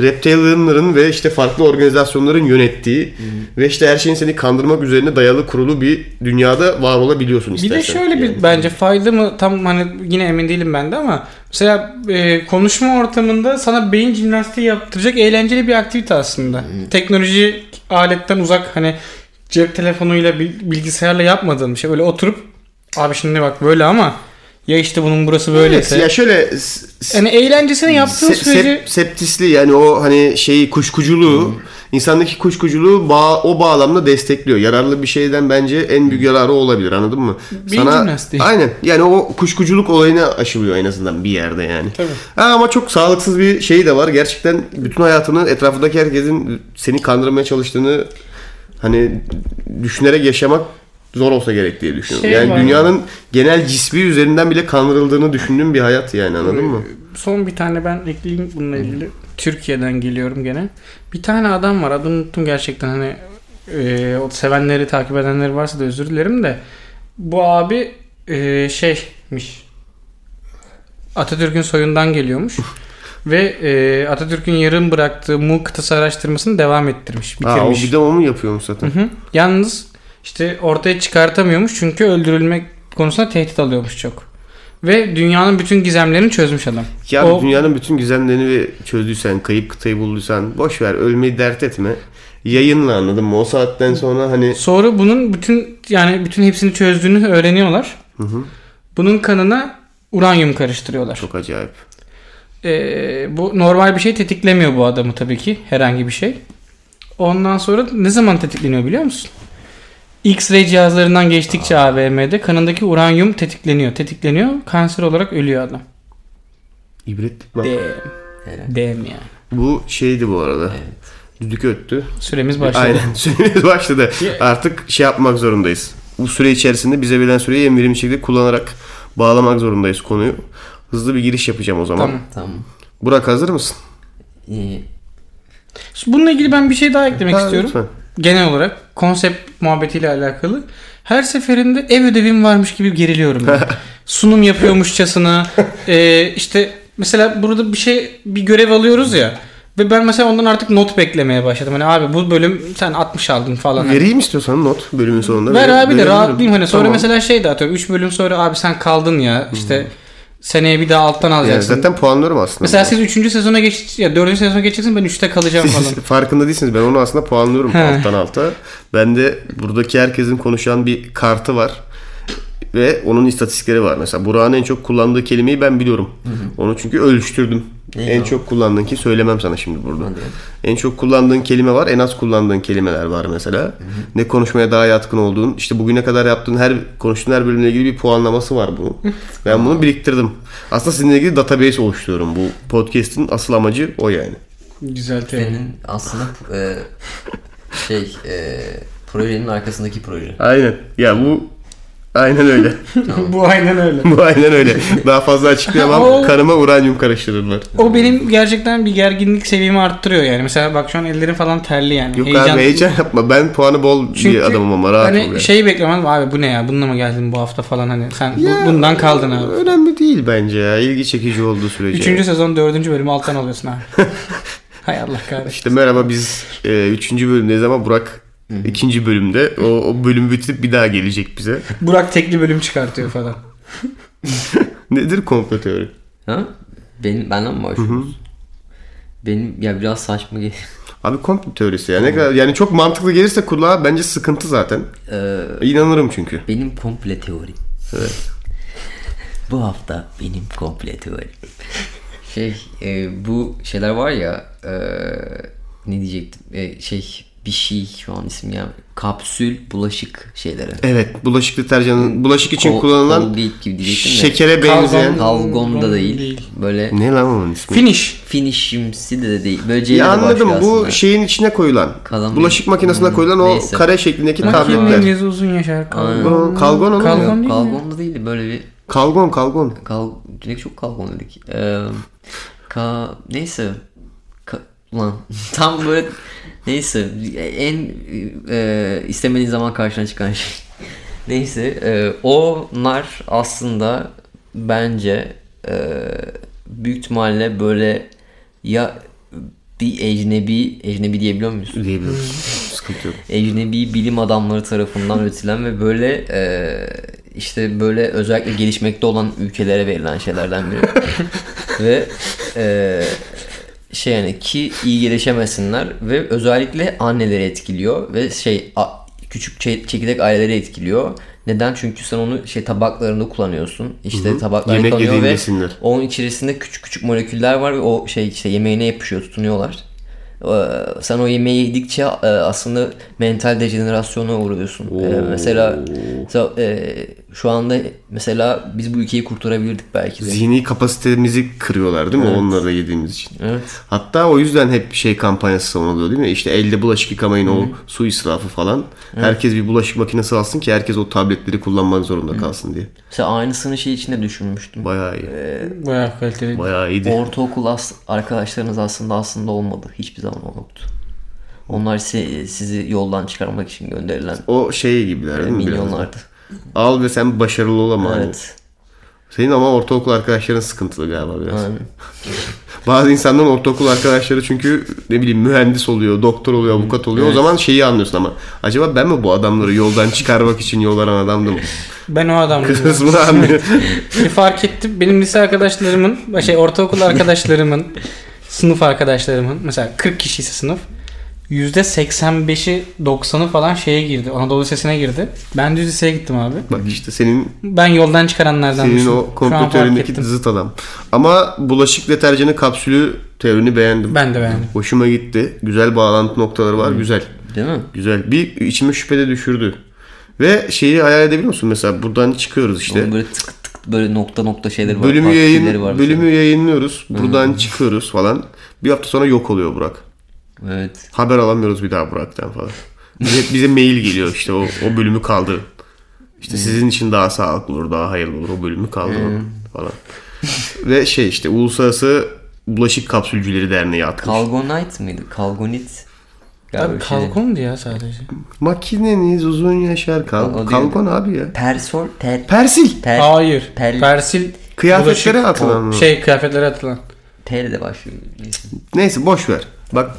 Speaker 1: reptilianların ve işte farklı organizasyonların yönettiği
Speaker 2: Hmm.
Speaker 1: ve işte her şeyin seni kandırmak üzerine dayalı kurulu bir dünyada var olabiliyorsun
Speaker 2: Bir
Speaker 1: istersen.
Speaker 2: de şöyle
Speaker 1: yani.
Speaker 2: bir bence fayda mı tam hani yine emin değilim ben de ama mesela e, konuşma ortamında sana beyin jimnastiği yaptıracak eğlenceli bir aktivite aslında.
Speaker 1: Hmm.
Speaker 2: Teknoloji aletten uzak hani cep telefonuyla bil- bilgisayarla yapmadığın bir şey. Böyle oturup abi şimdi bak böyle ama ya işte bunun burası böyleyse.
Speaker 1: Ya şöyle s- s-
Speaker 2: yani eğlencesini yaptığın
Speaker 1: Se-
Speaker 2: sürece
Speaker 1: sep- septisli yani o hani şeyi kuşkuculuğu
Speaker 2: Hmm.
Speaker 1: insandaki kuşkuculuğu bağ, o bağlamda destekliyor. Yararlı bir şeyden bence en büyük yararı olabilir anladın mı?
Speaker 2: Hmm. Bir jimnastiği.
Speaker 1: Aynen yani o kuşkuculuk olayını aşılıyor en azından bir yerde yani.
Speaker 2: Tabii.
Speaker 1: Ha, ama çok sağlıksız bir şey de var. Gerçekten bütün hayatını etrafındaki herkesin seni kandırmaya çalıştığını hani düşünerek yaşamak zor olsa gerek diye düşünüyorum.
Speaker 2: Şey var
Speaker 1: yani
Speaker 2: ya.
Speaker 1: dünyanın genel cismi üzerinden bile kandırıldığını düşündüğüm bir hayat yani anladın mı?
Speaker 2: Son bir tane ben ekleyeyim bununla ilgili. Türkiye'den geliyorum gene. Bir tane adam var adını unuttum gerçekten hani e, o sevenleri takip edenleri varsa da özür dilerim de bu abi e, şeymiş Atatürk'ün soyundan geliyormuş ve e, Atatürk'ün yarım bıraktığı Mu kıtası araştırmasını devam ettirmiş bitirmiş.
Speaker 1: Ha, o bir de o mu yapıyormuş zaten?
Speaker 2: Hı hı. Yalnız işte ortaya çıkartamıyormuş çünkü öldürülmek konusunda tehdit alıyormuş çok. Ve dünyanın bütün gizemlerini çözmüş adam.
Speaker 1: Ya
Speaker 2: o,
Speaker 1: dünyanın bütün gizemlerini ve çözdüysen, kayıp kıtayı bulduysan boş ver, ölmeyi dert etme. Yayınla anladın mı? O saatten sonra hani
Speaker 2: Sonra bunun bütün yani bütün hepsini çözdüğünü öğreniyorlar. Bunun kanına uranyum karıştırıyorlar.
Speaker 1: çok acayip.
Speaker 2: Ee, bu normal bir şey tetiklemiyor bu adamı tabii ki herhangi bir şey. Ondan sonra ne zaman tetikleniyor biliyor musun? X-ray cihazlarından geçtikçe AVM'de kanındaki uranyum tetikleniyor. Tetikleniyor. Kanser olarak ölüyor adam.
Speaker 1: İbretlik bak.
Speaker 3: Helal.
Speaker 2: Damn ya.
Speaker 1: Bu şeydi bu arada. Düdük öttü.
Speaker 2: Süremiz başladı.
Speaker 1: Aynen süremiz başladı. Artık şey yapmak zorundayız. Bu süre içerisinde bize verilen süreyi en verimli şekilde kullanarak bağlamak zorundayız konuyu. Hızlı bir giriş yapacağım o zaman.
Speaker 2: Tamam.
Speaker 3: Tamam. Ee,
Speaker 1: Burak hazır mısın?
Speaker 3: İyi.
Speaker 2: Bununla ilgili ben bir şey daha eklemek
Speaker 1: Ha,
Speaker 2: istiyorum.
Speaker 1: lütfen.
Speaker 2: Genel olarak konsept muhabbetiyle alakalı. Her seferinde ev ödevim varmış gibi geriliyorum. ben. Sunum yapıyormuşçasına. e, işte mesela burada bir şey bir görev alıyoruz ya. Ve ben mesela ondan artık not beklemeye başladım. Hani abi bu bölüm sen 60 aldın falan.
Speaker 1: Vereyim istiyorsan not bölümün sonunda.
Speaker 2: Ver abi de
Speaker 1: verebilirim.
Speaker 2: rahatlayayım hani sonra
Speaker 1: Tamam.
Speaker 2: mesela şey de atıyorum 3 bölüm sonra abi sen kaldın ya işte seneye bir daha alttan
Speaker 1: yani
Speaker 2: alacaksın.
Speaker 1: zaten puanlıyorum aslında.
Speaker 2: mesela siz 3. sezona geç ya 4. sezona geçeceksin ben 3'te kalacağım falan.
Speaker 1: Siz Şey farkında değilsiniz. Ben onu aslında puanlıyorum alttan alta. Ben de buradaki herkesin konuşan bir kartı var. Ve onun istatistikleri var. Mesela Burak'ın en çok kullandığı kelimeyi ben biliyorum. Onu çünkü ölçtürdüm. en çok kullandığın ki söylemem sana şimdi burada. En çok kullandığın kelime var. En az kullandığın kelimeler var mesela. Ne konuşmaya daha yatkın olduğun. işte bugüne kadar yaptığın her konuştuğun her bölümle ilgili bir puanlaması var bunun. ben bunu biriktirdim. Aslında sizinle ilgili database oluşturuyorum. Bu podcast'in asıl amacı o yani.
Speaker 2: Güzel terim.
Speaker 3: Senin aslında e, şey e, projenin arkasındaki proje.
Speaker 1: Aynen. Ya bu aynen öyle.
Speaker 2: Bu aynen öyle.
Speaker 1: bu aynen öyle. Daha fazla açıklayamam.
Speaker 2: Oo.
Speaker 1: Kanıma uranyum karıştırırlar.
Speaker 2: O benim gerçekten bir gerginlik seviyemi arttırıyor yani. Mesela bak şu an ellerim falan terli yani.
Speaker 1: Yok abi heyecan yapma. Ben puanı bol bir
Speaker 2: Çünkü
Speaker 1: adamım ama rahat
Speaker 2: hani
Speaker 1: ol yani.
Speaker 2: şeyi beklemem abi bu ne ya bununla mı geldin bu hafta falan hani sen bu-
Speaker 1: Ya,
Speaker 2: bundan kaldın abi.
Speaker 1: Önemli değil bence ya. İlgi çekici olduğu sürece.
Speaker 2: Üçüncü sezon dördüncü bölümü alttan alıyorsun abi. Hay Allah kahretsin.
Speaker 1: İşte merhaba biz e, üçüncü bölümdeyiz ama Burak ikinci bölümde. O, o bölüm bitirip bir daha gelecek bize.
Speaker 2: Burak tekli bölüm çıkartıyor falan.
Speaker 1: Nedir komplo teori?
Speaker 3: Ha? Benim benden mi başlıyoruz? Benim ya biraz saçma geliyor.
Speaker 1: Abi komplo teorisi ya. Ne kadar, yani çok mantıklı gelirse kulağa bence sıkıntı zaten.
Speaker 3: Ee,
Speaker 1: İnanırım çünkü.
Speaker 3: benim komple teorim. bu hafta benim komple teorim. Şey e, bu şeyler var ya e, ne diyecektim E, şey bir şey şu an isim ya kapsül bulaşık şeyleri.
Speaker 1: Evet. Bulaşık deterjanı. Bulaşık için
Speaker 3: Kol-
Speaker 1: kullanılan
Speaker 3: kol değil gibi diyecektim de.
Speaker 1: şekere benzeyen.
Speaker 3: Kalgon da değil.
Speaker 2: Değil.
Speaker 3: Böyle
Speaker 1: Ne lan onun ismi?
Speaker 2: Finish.
Speaker 3: finishimsi de değil. Böyle
Speaker 1: Ya
Speaker 3: C'yle
Speaker 1: anladım
Speaker 3: başlıyor
Speaker 1: bu
Speaker 3: aslında.
Speaker 1: şeyin içine koyulan.
Speaker 3: Kalan
Speaker 1: bulaşık
Speaker 3: bir-
Speaker 1: makinesine
Speaker 3: Hmm,
Speaker 1: koyulan o
Speaker 3: neyse.
Speaker 1: kare şeklindeki tabletler.
Speaker 2: Kalgon uzun yaşar.
Speaker 1: O kalgon olur
Speaker 2: Kalgon
Speaker 1: ya.
Speaker 2: değil mi?
Speaker 3: Kalgon da değildi böyle bir
Speaker 1: Kalgon kalgon.
Speaker 3: kal ne çok kalgon dedik. Ee, ka neyse ka, lan tam böyle neyse en e, istemediğin zaman karşına çıkan şey. neyse e, onlar aslında bence e, büyük ihtimalle böyle ya bir ecnebi ecnebi diyebiliyor muyuz?
Speaker 1: Diyebiliriz.
Speaker 3: Hmm.
Speaker 1: Sıkıntı yok.
Speaker 3: ecnebi bilim adamları tarafından üretilen ve böyle e, işte böyle özellikle gelişmekte olan ülkelere verilen şeylerden biri. ve e, şey yani ki iyi gelişemesinler ve özellikle anneleri etkiliyor ve şey a- küçük çe- çekirdek aileleri etkiliyor. Neden? Çünkü sen onu şey tabaklarında kullanıyorsun. İşte tabaklar
Speaker 1: Yemek
Speaker 3: yıkanıyor
Speaker 1: yediğin
Speaker 3: ve
Speaker 1: besinler.
Speaker 3: onun içerisinde küçük küçük moleküller var ve o şey işte yemeğine yapışıyor, tutunuyorlar. Ee, sen o yemeği yedikçe e, aslında mental dejenerasyona uğruyorsun. Ee,
Speaker 1: Oo.
Speaker 3: mesela mesela, e, şu anda mesela biz bu ülkeyi kurtarabilirdik belki de.
Speaker 1: Zihni kapasitemizi kırıyorlar değil mi? Onları da yediğimiz için.
Speaker 3: Evet.
Speaker 1: Hatta o yüzden hep şey kampanyası savunuluyor değil mi? İşte elde bulaşık yıkamayın o
Speaker 3: Hmm.
Speaker 1: su israfı falan. Herkes bir bulaşık makinesi alsın ki herkes o tabletleri kullanmak zorunda
Speaker 3: Hmm.
Speaker 1: kalsın diye.
Speaker 3: Mesela aynısını şey içinde düşünmüştüm.
Speaker 1: Bayağı iyi.
Speaker 2: Bayağı kaliteli.
Speaker 1: Bayağı iyiydi.
Speaker 3: Ortaokul as- arkadaşlarınız aslında aslında olmadı. Hiçbir zaman olmadı. Onlar size- sizi yoldan çıkarmak için gönderilen
Speaker 1: O şey gibiler değil mi? Biraz?
Speaker 3: milyonlardı.
Speaker 1: Al ve sen başarılı olama. hani.
Speaker 3: Evet.
Speaker 1: Senin ama ortaokul arkadaşların sıkıntılı galiba biraz. Bazı insanların ortaokul arkadaşları çünkü ne bileyim mühendis oluyor, doktor oluyor, avukat oluyor. O zaman şeyi anlıyorsun ama acaba ben mi bu adamları yoldan çıkarmak için yollanan adamdım?
Speaker 2: Ben o adamdım.
Speaker 1: Kısmını anlıyor.
Speaker 2: Bir fark ettim. Benim lise arkadaşlarımın, şey ortaokul arkadaşlarımın, sınıf arkadaşlarımın mesela 40 kişiyse sınıf %85'i 90'ı falan şeye girdi. Anadolu Lisesi'ne girdi. Ben düz liseye gittim abi.
Speaker 1: Bak işte senin
Speaker 2: Ben yoldan çıkaranlardan
Speaker 1: senin o komplo teorindeki zıt adam. Ama bulaşık deterjanı kapsülü teorini beğendim.
Speaker 2: Ben de beğendim.
Speaker 1: Hoşuma gitti. Güzel bağlantı noktaları var. Güzel.
Speaker 3: Değil mi?
Speaker 1: Güzel. Bir içime şüphede düşürdü. Ve şeyi hayal edebiliyor musun? Mesela buradan çıkıyoruz işte.
Speaker 3: Onun böyle tık tık böyle nokta nokta şeyleri var.
Speaker 1: Bölümü,
Speaker 3: partikülleri
Speaker 1: yayın,
Speaker 3: var.
Speaker 1: bölümü yayınlıyoruz. Buradan çıkıyoruz falan. Bir hafta sonra yok oluyor Burak.
Speaker 3: şey. Evet.
Speaker 1: Haber alamıyoruz bir daha Burak'tan falan. Bize, bize mail geliyor işte o, o bölümü kaldırın. İşte sizin için daha sağlıklı olur, daha hayırlı olur o bölümü kaldırın falan. Ve şey işte Uluslararası Bulaşık Kapsülcüleri Derneği atmış.
Speaker 3: Kalgonite mıydı? Kalgonit. Galiba
Speaker 2: Abi
Speaker 3: bir şey.
Speaker 2: kalkon diye ya sadece.
Speaker 1: Makineniz uzun yaşar.
Speaker 3: O- o
Speaker 1: Kal
Speaker 3: değil
Speaker 1: kalkon abi ya.
Speaker 3: Persol. Per,
Speaker 1: Persil.
Speaker 3: per,
Speaker 2: Hayır.
Speaker 3: Pel-
Speaker 2: Persil
Speaker 1: Kıyafetlere
Speaker 2: bulaşık-
Speaker 1: atılan mı?
Speaker 2: Şey kıyafetlere atılan.
Speaker 3: P de başlıyor. Neyse.
Speaker 1: Neyse boş ver. Bak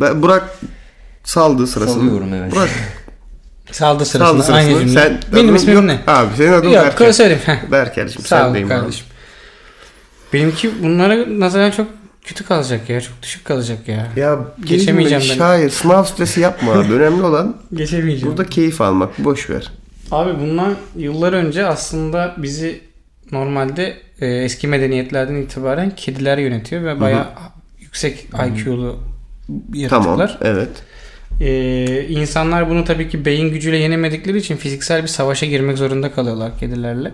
Speaker 1: ben- Burak saldı sırasını.
Speaker 3: Salıyorum, evet.
Speaker 1: Burak saldı
Speaker 2: Saldı sırasında.
Speaker 1: sırasını.
Speaker 2: Aynı cümle.
Speaker 1: Sen,
Speaker 2: Benim
Speaker 1: adın-
Speaker 2: ismim
Speaker 1: yok,
Speaker 2: ne?
Speaker 1: Abi senin adın
Speaker 2: Yok
Speaker 1: Berker.
Speaker 2: söyleyeyim. Heh.
Speaker 1: Berker'cim
Speaker 2: Sağ
Speaker 1: sen
Speaker 2: olun
Speaker 1: benim
Speaker 2: kardeşim. Benimki bunlara nazaran çok kötü kalacak ya. Çok düşük kalacak ya.
Speaker 1: Abi. Ya
Speaker 2: Geçemeyeceğim
Speaker 1: geçemeyeceğim
Speaker 2: ben.
Speaker 1: ben. Hayır sınav stresi yapma abi. Önemli olan
Speaker 2: Geçemeyeceğim.
Speaker 1: burada keyif almak. Boş ver.
Speaker 2: Abi bundan yıllar önce aslında bizi normalde e, eski medeniyetlerden itibaren kediler yönetiyor ve bayağı yüksek IQ'lu
Speaker 1: Tamam.
Speaker 2: yaratıklar.
Speaker 1: Evet.
Speaker 2: Ee, insanlar bunu tabii ki beyin gücüyle yenemedikleri için fiziksel bir savaşa girmek zorunda kalıyorlar kedilerle.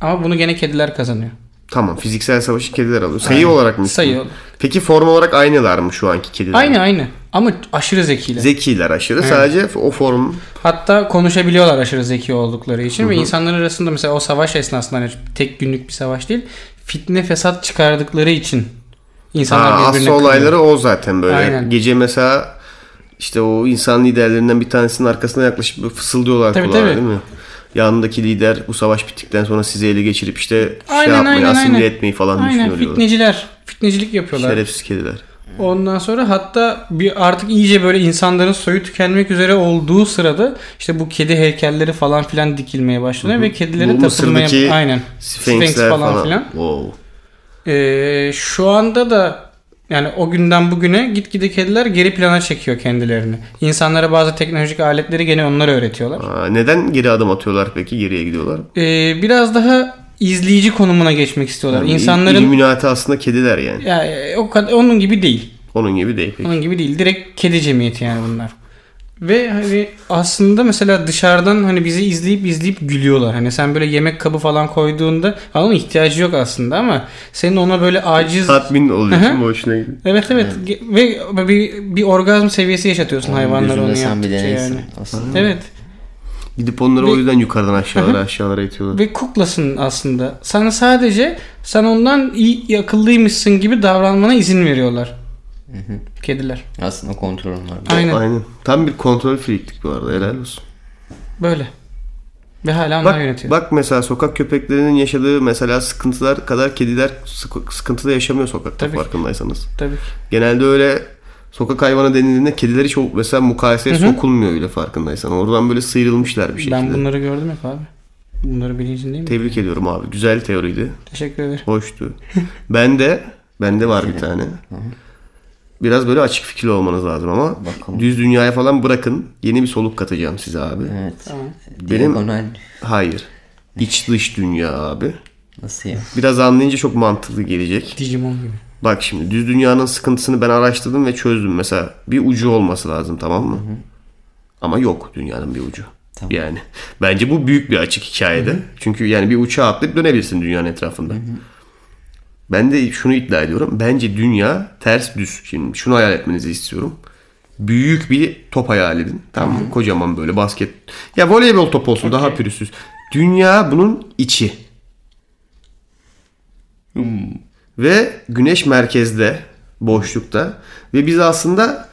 Speaker 2: Ama bunu gene kediler kazanıyor.
Speaker 1: Tamam. Fiziksel savaşı kediler alıyor. Sayı olarak mı?
Speaker 2: Sayı
Speaker 1: üstün?
Speaker 2: olarak.
Speaker 1: Peki form olarak aynılar mı şu anki kediler?
Speaker 2: Aynı aynı ama aşırı zekiler.
Speaker 1: Zekiler aşırı. Sadece o form
Speaker 2: Hatta konuşabiliyorlar aşırı zeki oldukları için ve insanlar arasında mesela o savaş esnasında hani tek günlük bir savaş değil fitne fesat çıkardıkları için insanlar
Speaker 1: Ha,
Speaker 2: birbirine
Speaker 1: asıl
Speaker 2: kırıyor.
Speaker 1: olayları o zaten böyle.
Speaker 2: Aynen.
Speaker 1: Gece mesela işte o insan liderlerinden bir tanesinin arkasına yaklaşıp böyle fısıldıyorlar
Speaker 2: Tabii,
Speaker 1: kulağına
Speaker 2: tabii.
Speaker 1: değil mi? Yanındaki lider bu savaş bittikten sonra sizi ele geçirip işte şey
Speaker 2: Aynen,
Speaker 1: yapmayı,
Speaker 2: aynen,
Speaker 1: asimile
Speaker 2: aynen.
Speaker 1: etmeyi falan
Speaker 2: Aynen
Speaker 1: düşünüyor diyorlar.
Speaker 2: fitneciler. Fitnecilik yapıyorlar.
Speaker 1: Şerefsiz kediler.
Speaker 2: Ondan sonra hatta bir artık iyice böyle insanların soyu tükenmek üzere olduğu sırada işte bu kedi heykelleri falan filan dikilmeye başlanıyor ve kedilere
Speaker 1: Bu
Speaker 2: tapılmaya
Speaker 1: Mısır'daki
Speaker 2: aynen
Speaker 1: Sphinxler
Speaker 2: Sphinx
Speaker 1: falan.
Speaker 2: falan filan.
Speaker 1: Wow.
Speaker 2: Ee, şu anda da yani o günden bugüne gitgide kediler geri plana çekiyor kendilerini. İnsanlara bazı teknolojik aletleri gene onlara öğretiyorlar.
Speaker 1: Aa, neden geri adım atıyorlar peki? Geriye gidiyorlar.
Speaker 2: Ee, biraz daha izleyici konumuna geçmek istiyorlar.
Speaker 1: Yani
Speaker 2: İnsanların
Speaker 1: Illuminati aslında kediler yani.
Speaker 2: ya, e, o kadar onun gibi değil.
Speaker 1: Onun gibi değil peki.
Speaker 2: Onun gibi değil. Direkt kedi cemiyeti yani bunlar. Ve hani aslında mesela dışarıdan hani bizi izleyip izleyip gülüyorlar. Hani sen böyle yemek kabı falan koyduğunda "Aa, onun ihtiyacı yok aslında ama senin ona böyle aciz
Speaker 1: Tatmin oluyor
Speaker 2: Aha.
Speaker 1: şimdi hoşuna gidiyor.
Speaker 2: Evet evet Ge- ve bir, bir orgazm seviyesi yaşatıyorsun hayvanlara onu
Speaker 3: Gözünde sen bir
Speaker 2: yaptıkça
Speaker 3: deneysin.
Speaker 2: şey yani.
Speaker 3: Aslında.
Speaker 2: Evet
Speaker 1: Gidip onları
Speaker 2: Ve-
Speaker 1: o yüzden yukarıdan aşağılara aşağılara itiyorlar.
Speaker 2: ve kuklasın aslında. Sana sadece sen ondan iyi, iyi akıllıymışsın gibi davranmana izin veriyorlar. Kediler.
Speaker 3: Aslında kontrolüm var.
Speaker 2: Aynen
Speaker 1: Aynen. Tam bir kontrol freaklik bu arada. Helal olsun.
Speaker 2: böyle. Ve hala onlar
Speaker 1: Bak,
Speaker 2: yönetiyor.
Speaker 1: bak mesela sokak köpeklerinin yaşadığı mesela sıkıntılar kadar kediler sık- sıkıntıda yaşamıyor sokakta
Speaker 2: Tabii ki.
Speaker 1: farkındaysanız.
Speaker 2: Tabii.
Speaker 1: Genelde öyle sokak hayvanı denildiğinde kediler hiç o- mesela mukayeseye sokulmuyor öyle farkındaysan. Oradan böyle sıyrılmışlar bir şey şekilde.
Speaker 2: Ben bunları gördüm hep abi. Bunları bilincindeyim.
Speaker 1: Tebrik ediyorum abi. Güzel teoriydi.
Speaker 2: Teşekkür ederim.
Speaker 1: Hoştu. ben de bende var bir tane. Biraz böyle açık fikirli olmanız lazım ama
Speaker 3: Bakalım.
Speaker 1: düz dünyaya falan bırakın. Yeni bir soluk katacağım size abi.
Speaker 3: Evet.
Speaker 2: Tamam.
Speaker 1: Benim-
Speaker 3: Diagonal
Speaker 1: Hayır. İç dış dünya abi.
Speaker 3: nasıl ya?
Speaker 1: Biraz anlayınca çok mantıklı gelecek.
Speaker 2: Digimon gibi.
Speaker 1: Bak şimdi düz dünyanın sıkıntısını ben araştırdım ve çözdüm. Mesela bir ucu olması lazım tamam mı? Ama yok dünyanın bir ucu. Yani bence bu büyük bir açık hikayede. Çünkü yani bir uçağa atlayıp dönebilirsin dünyanın etrafında. Ben de şunu iddia ediyorum. Bence dünya ters düz. Şimdi şunu hayal etmenizi istiyorum. Büyük bir top hayal edin. Tamam mı? Kocaman böyle basket. Ya voleybol topu olsun daha pürüzsüz. Dünya bunun içi. Ve güneş merkezde, boşlukta ve biz aslında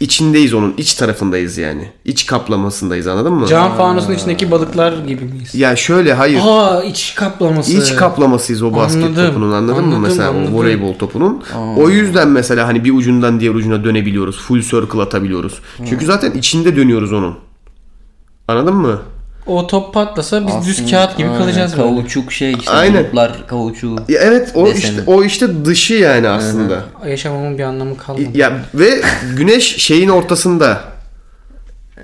Speaker 1: içindeyiz onun, iç tarafındayız yani. İç kaplamasındayız anladın mı?
Speaker 2: Cam fanusun içindeki balıklar gibi miyiz?
Speaker 1: Ya şöyle hayır.
Speaker 2: Aa iç kaplaması.
Speaker 1: İç kaplamasıyız o basket
Speaker 2: Anladım.
Speaker 1: topunun anladın mı
Speaker 2: Anladım,
Speaker 1: mesela
Speaker 2: anladım.
Speaker 1: o voleybol topunun. O yüzden mesela hani bir ucundan diğer ucuna dönebiliyoruz. Full circle atabiliyoruz.
Speaker 2: Hmm.
Speaker 1: Çünkü zaten içinde dönüyoruz onun. Anladın mı?
Speaker 2: O top patlasa biz düz
Speaker 3: Aslında-
Speaker 2: kağıt gibi
Speaker 3: Aynen,
Speaker 2: kalacağız böyle.
Speaker 3: Kauçuk şey işte.
Speaker 1: Aynen.
Speaker 3: Bulutlar kauçuğu.
Speaker 1: Ya evet o
Speaker 3: Deseni.
Speaker 1: işte o işte dışı yani aslında.
Speaker 2: Yaşamamın bir anlamı kalmadı.
Speaker 1: Ya ve güneş şeyin ortasında.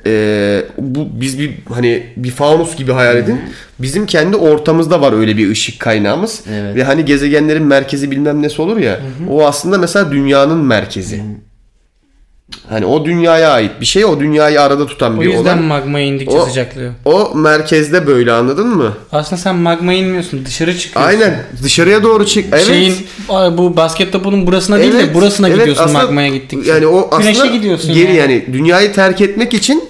Speaker 1: Ee, bu biz bir hani bir fanus gibi hayal edin. Bizim kendi ortamızda var öyle bir ışık kaynağımız.
Speaker 3: Evet.
Speaker 1: Ve hani
Speaker 2: Hmm.
Speaker 1: gezegenlerin merkezi bilmem nesi olur ya. O aslında mesela dünyanın merkezi. Hani o dünyaya ait bir şey, o dünyayı arada tutan
Speaker 2: O
Speaker 1: bir
Speaker 2: yüzden
Speaker 1: olan.
Speaker 2: magma indikçe
Speaker 1: O-
Speaker 2: sıcaklıyor.
Speaker 1: O merkezde böyle anladın mı?
Speaker 2: Aslında sen magma inmiyorsun dışarı çıkıyorsun.
Speaker 1: Aynen dışarıya doğru çık. Evet.
Speaker 2: Şeyin a- bu basket topunun burasına değil de
Speaker 1: Evet,
Speaker 2: burasına
Speaker 1: evet,
Speaker 2: gidiyorsun
Speaker 1: aslında-
Speaker 2: magmaya gittikçe.
Speaker 1: Yani o aslında
Speaker 2: Güneşe gidiyorsun
Speaker 1: geri yani.
Speaker 2: yani.
Speaker 1: dünyayı terk etmek için